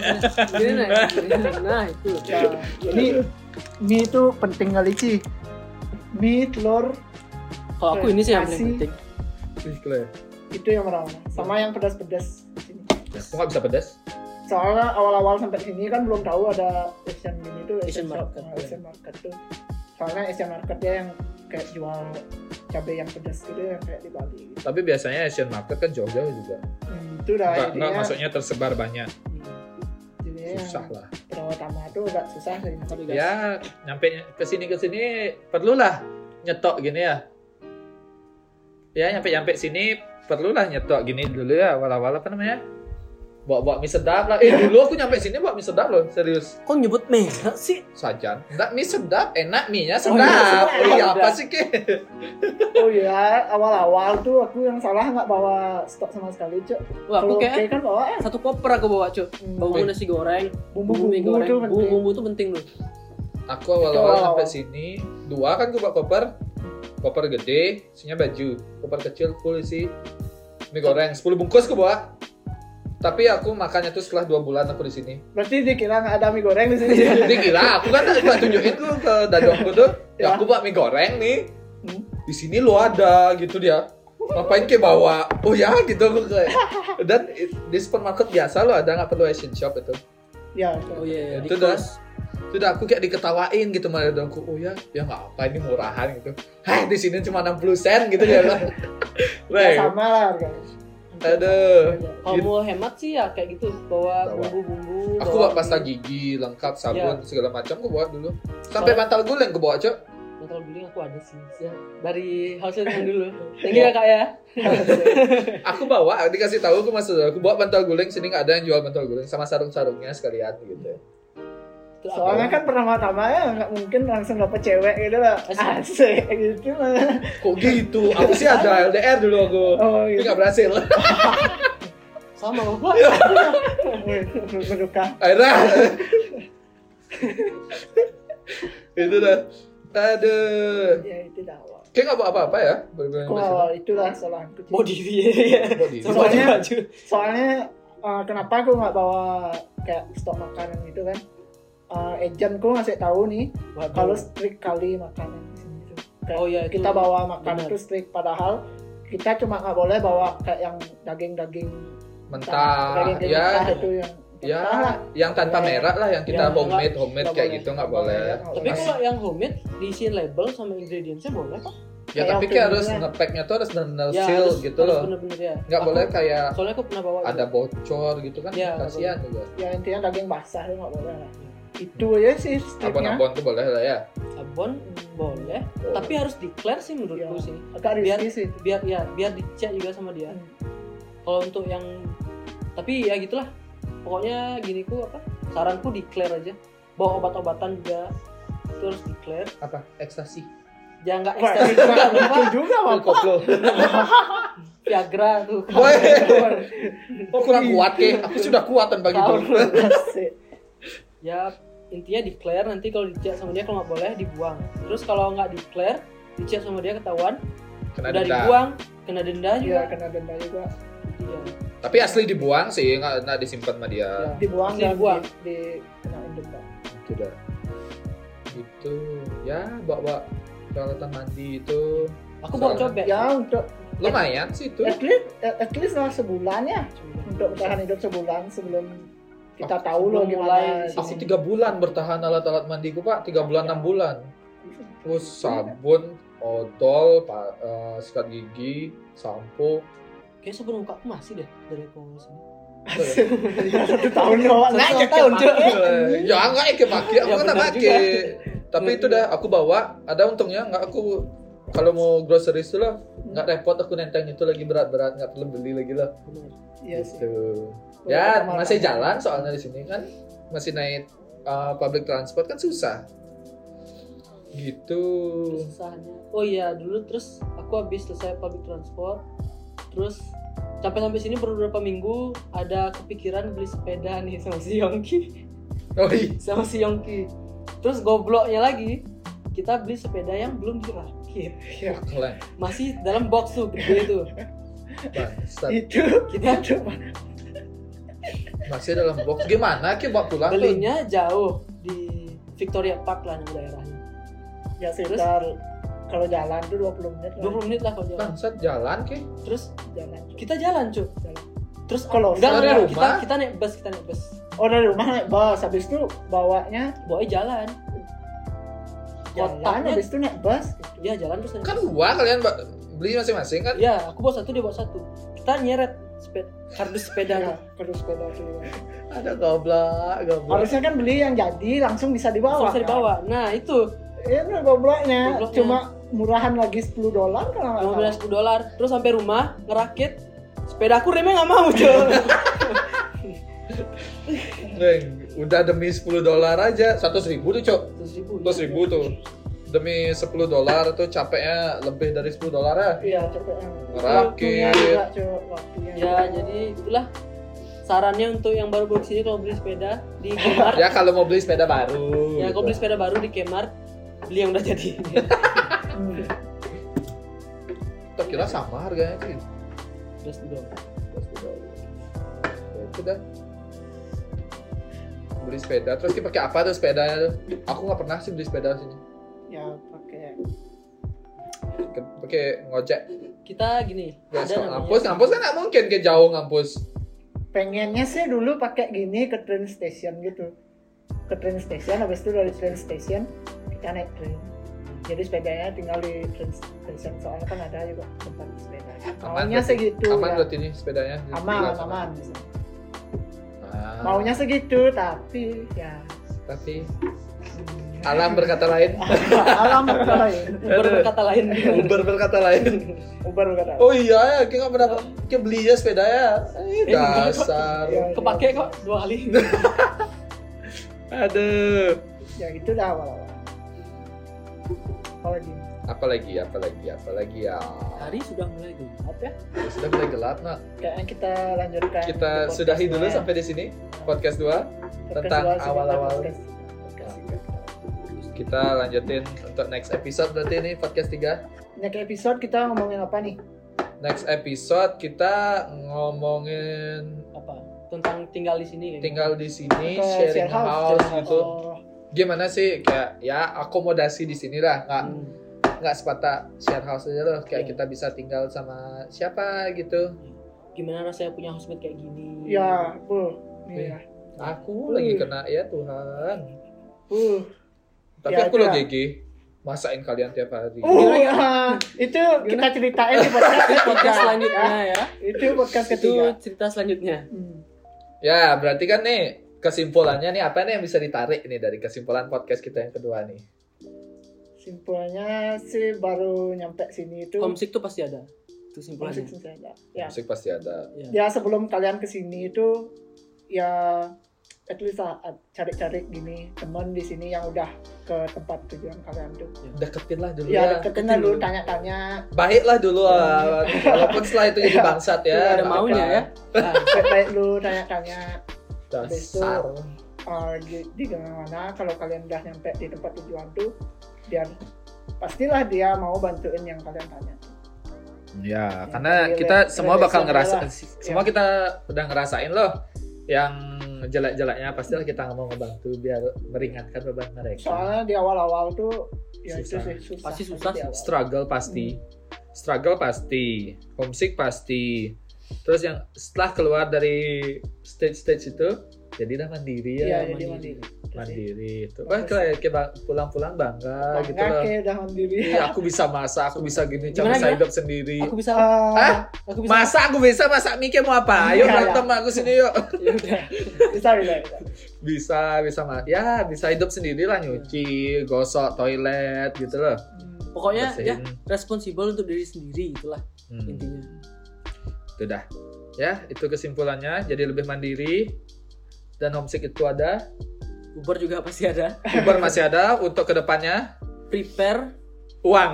Speaker 3: Gini, nah, gini, nah itu
Speaker 2: Ya, ini mie itu penting kali sih. Mie, telur
Speaker 3: kalau aku ini sih yang
Speaker 2: Nasi.
Speaker 3: paling penting
Speaker 1: Ih, Kle.
Speaker 2: itu yang pertama. Sama yang pedas-pedas. Sini.
Speaker 1: Ya, Aku nggak bisa pedas.
Speaker 2: Soalnya awal-awal sampai sini kan belum tahu ada Asian ini tuh
Speaker 3: Asian
Speaker 2: shop,
Speaker 3: market,
Speaker 2: nah,
Speaker 3: ya.
Speaker 2: Asian market tuh. Soalnya Asian marketnya yang kayak jual cabai yang pedas gitu yang kayak di Bali gitu.
Speaker 1: Tapi biasanya Asian market kan jauh-jauh juga.
Speaker 2: Hmm, itu
Speaker 1: Enggak,
Speaker 2: dah
Speaker 1: enggak,
Speaker 2: jadinya,
Speaker 1: maksudnya tersebar banyak.
Speaker 2: jadinya
Speaker 1: Susah lah.
Speaker 2: pertama itu agak susah sih kalau di
Speaker 1: Ya, nyampe ke sini ke sini perlulah nyetok gini ya. Ya, nyampe-nyampe sini perlulah nyetok gini dulu ya, awal-awal apa namanya? Bawa-bawa mie sedap lah. Eh, dulu aku nyampe sini bawa mie sedap loh, serius.
Speaker 3: Kok nyebut merah sih?
Speaker 1: Sajan. Enggak mie sedap, enak mie-nya
Speaker 3: Oh, iya,
Speaker 1: sedap.
Speaker 3: sedap.
Speaker 1: Iya, apa
Speaker 3: Sedap.
Speaker 1: sih, Ki?
Speaker 2: Oh iya, awal-awal tuh aku yang salah nggak bawa stok sama sekali, Cuk.
Speaker 3: Wah,
Speaker 2: Kalau
Speaker 3: aku kayak
Speaker 2: kayak kan bawa eh
Speaker 3: satu koper aku bawa, Cuk. Bumbu
Speaker 1: Wih.
Speaker 3: nasi goreng, bumbu mie
Speaker 2: bumbu-bumbu
Speaker 3: goreng,
Speaker 2: tuh
Speaker 3: bumbu
Speaker 2: penting.
Speaker 3: bumbu tuh penting loh.
Speaker 1: Aku awal-awal
Speaker 2: Itu
Speaker 1: sampai
Speaker 2: awal-awal.
Speaker 1: sini dua kan gue bawa koper, koper gede, isinya baju, koper kecil full isi mie goreng, 10 bungkus gue bawa. Tapi aku makannya tuh setelah dua bulan aku di sini.
Speaker 2: Berarti dikira nggak ada mie goreng di sini.
Speaker 3: Iya.
Speaker 1: Jadi gila, aku kan gua tunjukin tuh ke dadongku tuh, ya
Speaker 2: Ya.
Speaker 1: aku bawa mie goreng nih.
Speaker 2: Hmm.
Speaker 1: Di sini lo ada gitu dia. Ngapain ke bawa? Oh ya gitu aku kayak. Dan i- di supermarket biasa lo ada nggak perlu Asian shop itu.
Speaker 2: ya,
Speaker 3: Oh iya, iya.
Speaker 1: Itu
Speaker 3: Di
Speaker 1: dah.
Speaker 3: kos.
Speaker 1: Sudah aku kayak diketawain gitu sama dadongku. Oh ya, ya nggak apa ini murahan gitu. Hah, di sini cuma 60 sen gitu dia bilang.
Speaker 2: ya
Speaker 1: Weh,
Speaker 2: sama lah harganya.
Speaker 1: aduh.
Speaker 3: Kalau mau hemat sih ya kayak gitu, bawa
Speaker 1: Bawa.
Speaker 3: bumbu-bumbu.
Speaker 1: Aku bawa pasta gigi lengkap
Speaker 2: Ya.
Speaker 1: sabun segala macam aku bawa dulu. Sampai bantal guling aku bawa, Cok.
Speaker 3: Total guling aku ada sih. Ya. Dari house yang dulu. Thank you ya, Kak ya.
Speaker 1: aku bawa dikasih tahu aku masuk aku bawa bantal guling sini nggak ada yang jual bantal guling sama sarung-sarungnya sekalian gitu
Speaker 3: Terus aku-
Speaker 2: Soalnya kan pertama-tama ya nggak mungkin langsung dapet cewek gitu lah. Asik gitu lah.
Speaker 1: kok gitu aku sih ada LDR dulu aku
Speaker 2: Oh
Speaker 1: tapi
Speaker 2: gitu.
Speaker 1: nggak berhasil
Speaker 3: sama bapak.
Speaker 1: Iya.
Speaker 2: Berduka.
Speaker 1: akhirnya itu dah aduh
Speaker 2: Ya itu dah awal.
Speaker 1: kayak nggak bawa apa-apa ya
Speaker 3: Iya.
Speaker 1: bener-bener
Speaker 2: Aku awal itulah salah aku.
Speaker 3: Body ya.
Speaker 1: Body.
Speaker 3: Sama
Speaker 2: Soalnya-
Speaker 3: baju.
Speaker 2: soalnya uh, kenapa aku nggak bawa kayak stok makanan gitu kan uh, agentku ngasih tahu nih
Speaker 3: Waduh.
Speaker 2: kalau strict kali makanan di sini tuh kayak
Speaker 3: Oh iya, itu
Speaker 2: kita bawa makanan
Speaker 3: benar.
Speaker 2: tuh strict padahal kita cuma nggak boleh bawa kayak yang daging-daging
Speaker 1: mentah
Speaker 2: daging-daging mentah
Speaker 1: ya
Speaker 2: itu yang
Speaker 1: ya
Speaker 2: mentah lah.
Speaker 1: yang tanpa
Speaker 2: Boleh.
Speaker 1: merah lah yang kita
Speaker 3: Eh, Yang
Speaker 1: homemade
Speaker 3: nggak-
Speaker 1: homemade
Speaker 2: nggak
Speaker 1: kayak
Speaker 2: boleh.
Speaker 1: gitu nggak boleh
Speaker 2: Nggak
Speaker 3: Tapi
Speaker 2: boleh.
Speaker 3: kalau yang homemade diisiin label sama ingredientsnya boleh kok.
Speaker 1: ya
Speaker 2: Kayak
Speaker 1: tapi
Speaker 2: yang
Speaker 1: kayak harus
Speaker 2: filmnya.
Speaker 1: ngepacknya tuh harus benar-benar seal
Speaker 3: Ya, harus-
Speaker 1: gitu
Speaker 3: harus
Speaker 1: loh
Speaker 3: Bener-bener ya.
Speaker 1: nggak
Speaker 3: Aku-
Speaker 1: boleh kayak
Speaker 3: Soalnya aku pernah bawa
Speaker 1: ada bocor gitu kan
Speaker 3: Ya,
Speaker 1: kasihan juga
Speaker 2: ya intinya daging basah itu nggak boleh lah
Speaker 3: Hmm.
Speaker 2: itu ya sih strictnya
Speaker 1: abon-abon tuh boleh lah ya
Speaker 3: abon
Speaker 1: Boleh.
Speaker 3: boleh, tapi harus declare sih menurutku
Speaker 2: Iya.
Speaker 3: sih.
Speaker 2: agak
Speaker 3: biar-
Speaker 2: risky sih
Speaker 3: Biar ya biar dicek juga sama dia.
Speaker 2: Hmm.
Speaker 3: Kalau untuk yang tapi ya gitulah. Pokoknya gini ku apa? Saranku declare aja. Bawa obat-obatan juga itu harus declare.
Speaker 1: apa ekstasi
Speaker 3: Jangan nggak
Speaker 2: Wah,
Speaker 3: ekstasi
Speaker 2: itu nggak
Speaker 3: juga.
Speaker 2: lucu juga Bapak.
Speaker 1: koplo
Speaker 3: Viagra tuh.
Speaker 1: Woi, kok kurang kuat ke aku sudah kuat tanpa gitu
Speaker 3: Tahu.
Speaker 2: Asik.
Speaker 3: ya intinya declare nanti kalau dicek sama dia kalau nggak boleh dibuang terus kalau nggak declare dicek sama dia ketahuan
Speaker 1: kena
Speaker 3: udah
Speaker 1: denda
Speaker 3: dibuang kena denda juga
Speaker 2: Iya, kena denda juga
Speaker 3: Iya.
Speaker 1: tapi asli dibuang sih nggak nggak disimpan sama dia
Speaker 3: Iya.
Speaker 2: dibuang
Speaker 3: Pasti
Speaker 2: dan
Speaker 3: dibuang.
Speaker 2: di, di kenain denda
Speaker 1: gitu dah gitu ya bawa bawa peralatan mandi itu
Speaker 3: aku bawa
Speaker 1: Soalnya-
Speaker 3: cobek
Speaker 2: ya untuk
Speaker 1: lumayan sih
Speaker 3: Eh,
Speaker 1: itu
Speaker 2: at least at at least lah sebulan ya untuk bertahan hidup sebulan sebelum kita tahu loh
Speaker 3: Ah, sebelum mulai
Speaker 2: gimana
Speaker 1: aku
Speaker 3: sini.
Speaker 1: tiga bulan bertahan alat-alat mandiku pak tiga
Speaker 3: Iya.
Speaker 1: bulan enam bulan terus sabun odol pa- eh, sikat gigi sampo
Speaker 3: kayak sebelum buka aku masih deh dari aku ngomong sini
Speaker 2: satu tahun loh
Speaker 3: Satu
Speaker 2: nggak
Speaker 3: tahun, Cuk.
Speaker 1: Eh, ya enggak ya pakai aku
Speaker 3: Ya,
Speaker 1: kan
Speaker 3: benar
Speaker 1: pakai
Speaker 3: juga.
Speaker 1: tapi
Speaker 3: Benar
Speaker 1: itu dah aku bawa ada untungnya enggak aku kalau mau groceries tuh lah enggak repot aku nenteng itu lagi berat-berat enggak perlu beli lagi lah
Speaker 2: iya sih
Speaker 1: gitu ya masih jalan soalnya di sini kan masih naik uh, public transport kan susah gitu
Speaker 3: Terus susahnya oh iya dulu terus aku habis selesai public transport terus sampai sampai sini baru beberapa minggu ada kepikiran beli sepeda nih sama si Yongki
Speaker 1: oh iya
Speaker 3: sama si Yongki. Terus gobloknya lagi, kita beli sepeda yang belum dirakit.
Speaker 1: wah, keren
Speaker 3: Masih dalam box tuh, gede tuh.
Speaker 1: Bangsat.
Speaker 2: itu
Speaker 3: Kita
Speaker 2: itu
Speaker 1: masih dalam box gimana ki bawa pulang tuh?
Speaker 3: belinya jauh di Victoria Park lah nama daerahnya.
Speaker 2: ya sekitar kalau jalan tuh 20 menit lah
Speaker 3: 20 menit lah kalau jalan.
Speaker 1: bangsat jalan ki
Speaker 3: Terus
Speaker 2: jalan
Speaker 3: kita jalan, Cuk.
Speaker 2: Jalan.
Speaker 3: Terus
Speaker 2: Kalau
Speaker 3: enggak,
Speaker 1: dari
Speaker 3: enggak, kita
Speaker 1: rumah?
Speaker 3: kita naik bus, kita naik bus.
Speaker 2: oh dari rumah naik bus habis itu bawanya
Speaker 3: Boy jalan.
Speaker 2: kotanya
Speaker 3: jalannya
Speaker 2: habis itu naik bus gitu.
Speaker 3: dia jalan terus
Speaker 1: kan dua kalian ba- beli masing-masing kan
Speaker 3: ya aku bawa satu dia bawa satu kita nyeret sepeda kardus sepeda
Speaker 2: Iya, kardus sepeda tuh ya.
Speaker 1: ada goblak goblak
Speaker 2: harusnya kan beli yang jadi langsung bisa dibawa
Speaker 3: langsung bisa dibawa nah itu
Speaker 2: ya itu gobloknya
Speaker 3: Gobloknya.
Speaker 2: cuma murahan lagi 10 dolar kalau nggak salah
Speaker 3: 15 dolar terus sampai rumah ngerakit sepeda aku remnya nggak mau cuy
Speaker 1: Neng, udah demi 10 dolar aja 100 ribu tuh cok
Speaker 3: terus ribu
Speaker 1: 100 ribu tuh demi 10 dolar tuh capeknya lebih dari 10 dolar ya
Speaker 2: iya cepet yang waktunya juga
Speaker 1: ngerakit
Speaker 2: cok waktunya
Speaker 3: ya jadi itulah sarannya untuk yang baru baru sini kalau beli sepeda di Kmart
Speaker 1: ya kalau mau beli sepeda baru
Speaker 3: ya kalau beli
Speaker 1: gitu.
Speaker 3: sepeda baru di Kmart beli yang udah jadi
Speaker 2: Hmm.
Speaker 1: Tuh, kira sama harganya sih
Speaker 3: terus dong
Speaker 1: Ya, itu dah beli sepeda terus kita pakai apa tuh sepedanya tuh aku nggak pernah sih beli sepeda sini
Speaker 2: ya pakai
Speaker 1: Ke- pakai ngojek
Speaker 3: kita gini
Speaker 1: Nggak,
Speaker 3: ada namanya-
Speaker 1: ngampus ngampus kan nggak mungkin ke jauh ngampus
Speaker 2: pengennya sih dulu pakai gini ke train station gitu ke train station habis itu dari train station kita naik train jadi sepedanya tinggal di train station soalnya kan ada juga tempat sepeda maunya
Speaker 1: berarti.
Speaker 3: Iya.
Speaker 2: segitu
Speaker 1: aman
Speaker 2: ya.
Speaker 1: berarti ini sepedanya
Speaker 2: aman
Speaker 1: Jelas,
Speaker 2: aman
Speaker 1: Ah,
Speaker 2: maunya segitu tapi ya
Speaker 1: tapi alam berkata lain
Speaker 2: alam berkata lain
Speaker 3: Uber berkata lain
Speaker 1: Uber berkata lain
Speaker 2: Uber berkata lain.
Speaker 1: oh iya ya kita nggak pernah kita beli ya sepedanya eh, iya.
Speaker 3: Eh,
Speaker 1: dasar
Speaker 2: Ya,
Speaker 3: kepake kok dua kali
Speaker 1: aduh
Speaker 2: ya gitu dah awal awal apalagi
Speaker 1: apalagi apalagi apalagi ya
Speaker 3: hari sudah mulai gelap ya
Speaker 1: Ya, sudah mulai gelap nak
Speaker 2: kayaknya kita lanjutkan
Speaker 1: kita
Speaker 2: ke podcast
Speaker 1: sudahi dulu
Speaker 2: lain.
Speaker 1: sampai di sini podcast 2
Speaker 2: Podcast
Speaker 1: tentang
Speaker 2: dua, sekitar
Speaker 1: awal-awal.
Speaker 2: podcast- podcast tiga.
Speaker 1: kita lanjutin untuk next episode berarti ini podcast 3
Speaker 2: next episode kita ngomongin apa nih
Speaker 1: next episode kita ngomongin
Speaker 3: apa tentang tinggal di sini kayaknya.
Speaker 1: tinggal di sini
Speaker 2: Ke
Speaker 1: sharing
Speaker 2: share house,
Speaker 1: house,
Speaker 3: share
Speaker 1: gitu
Speaker 2: Oh,
Speaker 1: gimana sih kayak ya akomodasi di sini lah nggak
Speaker 3: Hmm.
Speaker 1: nggak sepatah share house aja loh kayak
Speaker 3: Iya.
Speaker 1: kita bisa tinggal sama siapa gitu
Speaker 3: gimana rasanya punya housemate kayak gini
Speaker 2: ya bu nih ya
Speaker 1: aku
Speaker 2: Hmm.
Speaker 1: lagi kena ya Tuhan
Speaker 2: uh
Speaker 1: tapi
Speaker 2: Ya,
Speaker 1: aku
Speaker 2: itu
Speaker 1: lo
Speaker 2: lah.
Speaker 1: GG masain kalian tiap hari
Speaker 3: ya.
Speaker 2: uh itu kita ceritain di podcast
Speaker 3: podcast
Speaker 2: ketiga
Speaker 3: selanjutnya
Speaker 2: ya.
Speaker 3: ya
Speaker 2: itu podcast
Speaker 3: itu
Speaker 2: ketiga
Speaker 3: cerita selanjutnya
Speaker 2: Hmm.
Speaker 1: ya berarti kan nih kesimpulannya nih apa nih yang bisa ditarik nih dari kesimpulan podcast kita yang kedua nih
Speaker 2: simpulnya sih baru nyampe sini itu
Speaker 3: homesick tuh pasti ada itu
Speaker 2: Musik
Speaker 3: simpulannya
Speaker 2: sih ada. ya
Speaker 1: musik pasti ada
Speaker 2: ya sebelum kalian kesini itu ya at least lah, cari-cari gini temen di sini yang udah ke tempat tujuan kalian tuh
Speaker 1: deketin lah dulu
Speaker 2: ya
Speaker 3: Iya,
Speaker 1: ya,
Speaker 2: deketin lah dulu tanya-tanya
Speaker 1: baiklah dulu ah. walaupun setelah itu jadi
Speaker 2: Iya.
Speaker 1: bangsat ya
Speaker 3: ada
Speaker 1: nggak
Speaker 3: maunya
Speaker 1: apa-apa.
Speaker 3: ya Nah,
Speaker 2: baik-baik dulu tanya-tanya
Speaker 1: dasar
Speaker 2: uh, di, di mana kalau kalian udah nyampe di tempat tujuan tuh dia pastilah dia mau bantuin yang kalian tanya
Speaker 1: Ya,
Speaker 2: Ya,
Speaker 1: karena
Speaker 2: iya,
Speaker 1: kita
Speaker 2: iya.
Speaker 1: semua
Speaker 2: Iya,
Speaker 1: bakal
Speaker 2: iya,
Speaker 1: ngerasa,
Speaker 2: iya.
Speaker 1: semua kita udah ngerasain loh yang jelek-jeleknya pastilah kita nggak mau ngebantu biar meringankan beban mereka.
Speaker 2: soalnya di awal-awal tuh ya itu
Speaker 1: Susah.
Speaker 2: sih susah
Speaker 3: Pasti susah
Speaker 2: di awal.
Speaker 1: Struggle pasti, struggle pasti, homesick pasti. Terus yang setelah keluar dari stage-stage itu, jadilah mandiri ya,
Speaker 2: Iya, jadi
Speaker 1: mandiri.
Speaker 2: mandiri.
Speaker 1: mandiri itu.
Speaker 2: Bagus.
Speaker 1: Wah, kayak kayak bang- pulang-pulang bangga,
Speaker 2: Bangga
Speaker 1: gitu loh.
Speaker 2: kayak udah mandiri.
Speaker 1: Iya, aku bisa masak, aku bisa gini, cara
Speaker 3: Gimana,
Speaker 1: saya
Speaker 3: gimana?
Speaker 1: hidup sendiri.
Speaker 3: aku bisa
Speaker 2: Ah,
Speaker 1: Hah?
Speaker 3: aku bisa
Speaker 1: Masak aku bisa, masak mikir mau apa? Ayo
Speaker 2: Iya, iya.
Speaker 1: berantem aku sini yuk.
Speaker 3: ya udah
Speaker 2: bisa bisa. bisa.
Speaker 1: bisa bisa mah ya bisa hidup sendiri lah nyuci gosok toilet gitu loh
Speaker 2: Hmm.
Speaker 3: pokoknya ya
Speaker 1: Bersihin.
Speaker 3: responsibel untuk diri sendiri itulah
Speaker 1: Hmm,
Speaker 3: intinya
Speaker 1: itu dah ya itu kesimpulannya jadi lebih mandiri dan homesick itu ada
Speaker 3: Uber juga pasti ada
Speaker 1: Uber masih ada untuk kedepannya
Speaker 3: prepare
Speaker 1: uang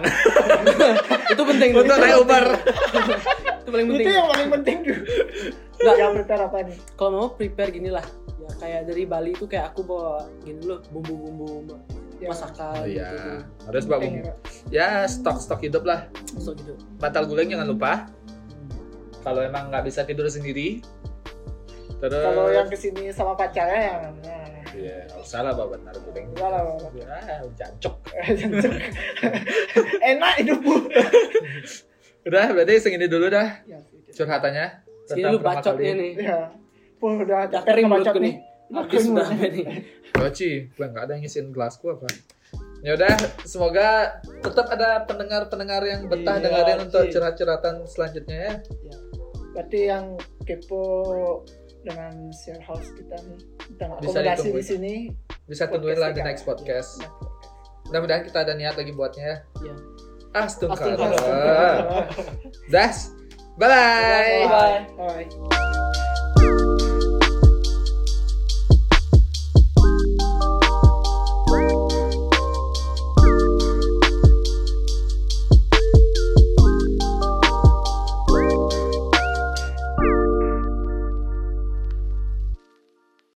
Speaker 3: itu penting
Speaker 1: untuk naik Uber
Speaker 3: itu paling penting
Speaker 2: Itu yang paling penting tuh.
Speaker 3: Nggak.
Speaker 2: yang prepare apa nih?
Speaker 3: kalau mau prepare gini lah ya kayak dari Bali itu kayak aku bawa gini loh bumbu-bumbu
Speaker 2: Ya,
Speaker 1: oh
Speaker 3: masakan gitu,
Speaker 1: ya
Speaker 3: gitu
Speaker 1: harus bawa
Speaker 2: penting
Speaker 1: bumbu.
Speaker 2: ya.
Speaker 1: ya stok stok hidup lah
Speaker 3: so gitu
Speaker 1: bantal guling jangan lupa kalau emang nggak bisa tidur sendiri terus
Speaker 2: Kalau yang kesini sama pacarnya ya, ya.
Speaker 1: ya nggak usah lah bawa bantal guling
Speaker 2: Enggak lah, Bapak.
Speaker 1: ya jancok
Speaker 2: Enak hidup bu.
Speaker 1: udah berarti segini dulu dah
Speaker 2: Ya, gitu.
Speaker 1: curhatannya
Speaker 3: sini lu
Speaker 1: pertama
Speaker 3: bacotnya
Speaker 1: kali.
Speaker 3: nih
Speaker 2: Ya. Wah, udah
Speaker 3: udah
Speaker 2: capek
Speaker 3: kering
Speaker 2: kebacot
Speaker 3: mulutku
Speaker 2: nih.
Speaker 3: nih habis
Speaker 2: Kering
Speaker 3: udah
Speaker 2: banget.
Speaker 3: nih
Speaker 1: Oci, gue nggak ada yang ngisiin gelasku apa? Ya udah, semoga tetap ada pendengar-pendengar yang betah
Speaker 3: Iya,
Speaker 1: dengerin untuk
Speaker 3: sih.
Speaker 1: curhat-curhatan selanjutnya ya.
Speaker 2: berarti yang kepo dengan share house kita nih tentang
Speaker 1: Bisa
Speaker 2: akomodasi di
Speaker 1: ditungguin.
Speaker 2: sini
Speaker 1: Bisa tungguin lah di next podcast. Mudah-mudahan kita ada niat lagi buatnya ya.
Speaker 3: Iya.
Speaker 1: Astungkar.
Speaker 3: Astungkar.
Speaker 1: Das. Bye.
Speaker 2: bye
Speaker 3: Bye.
Speaker 2: bye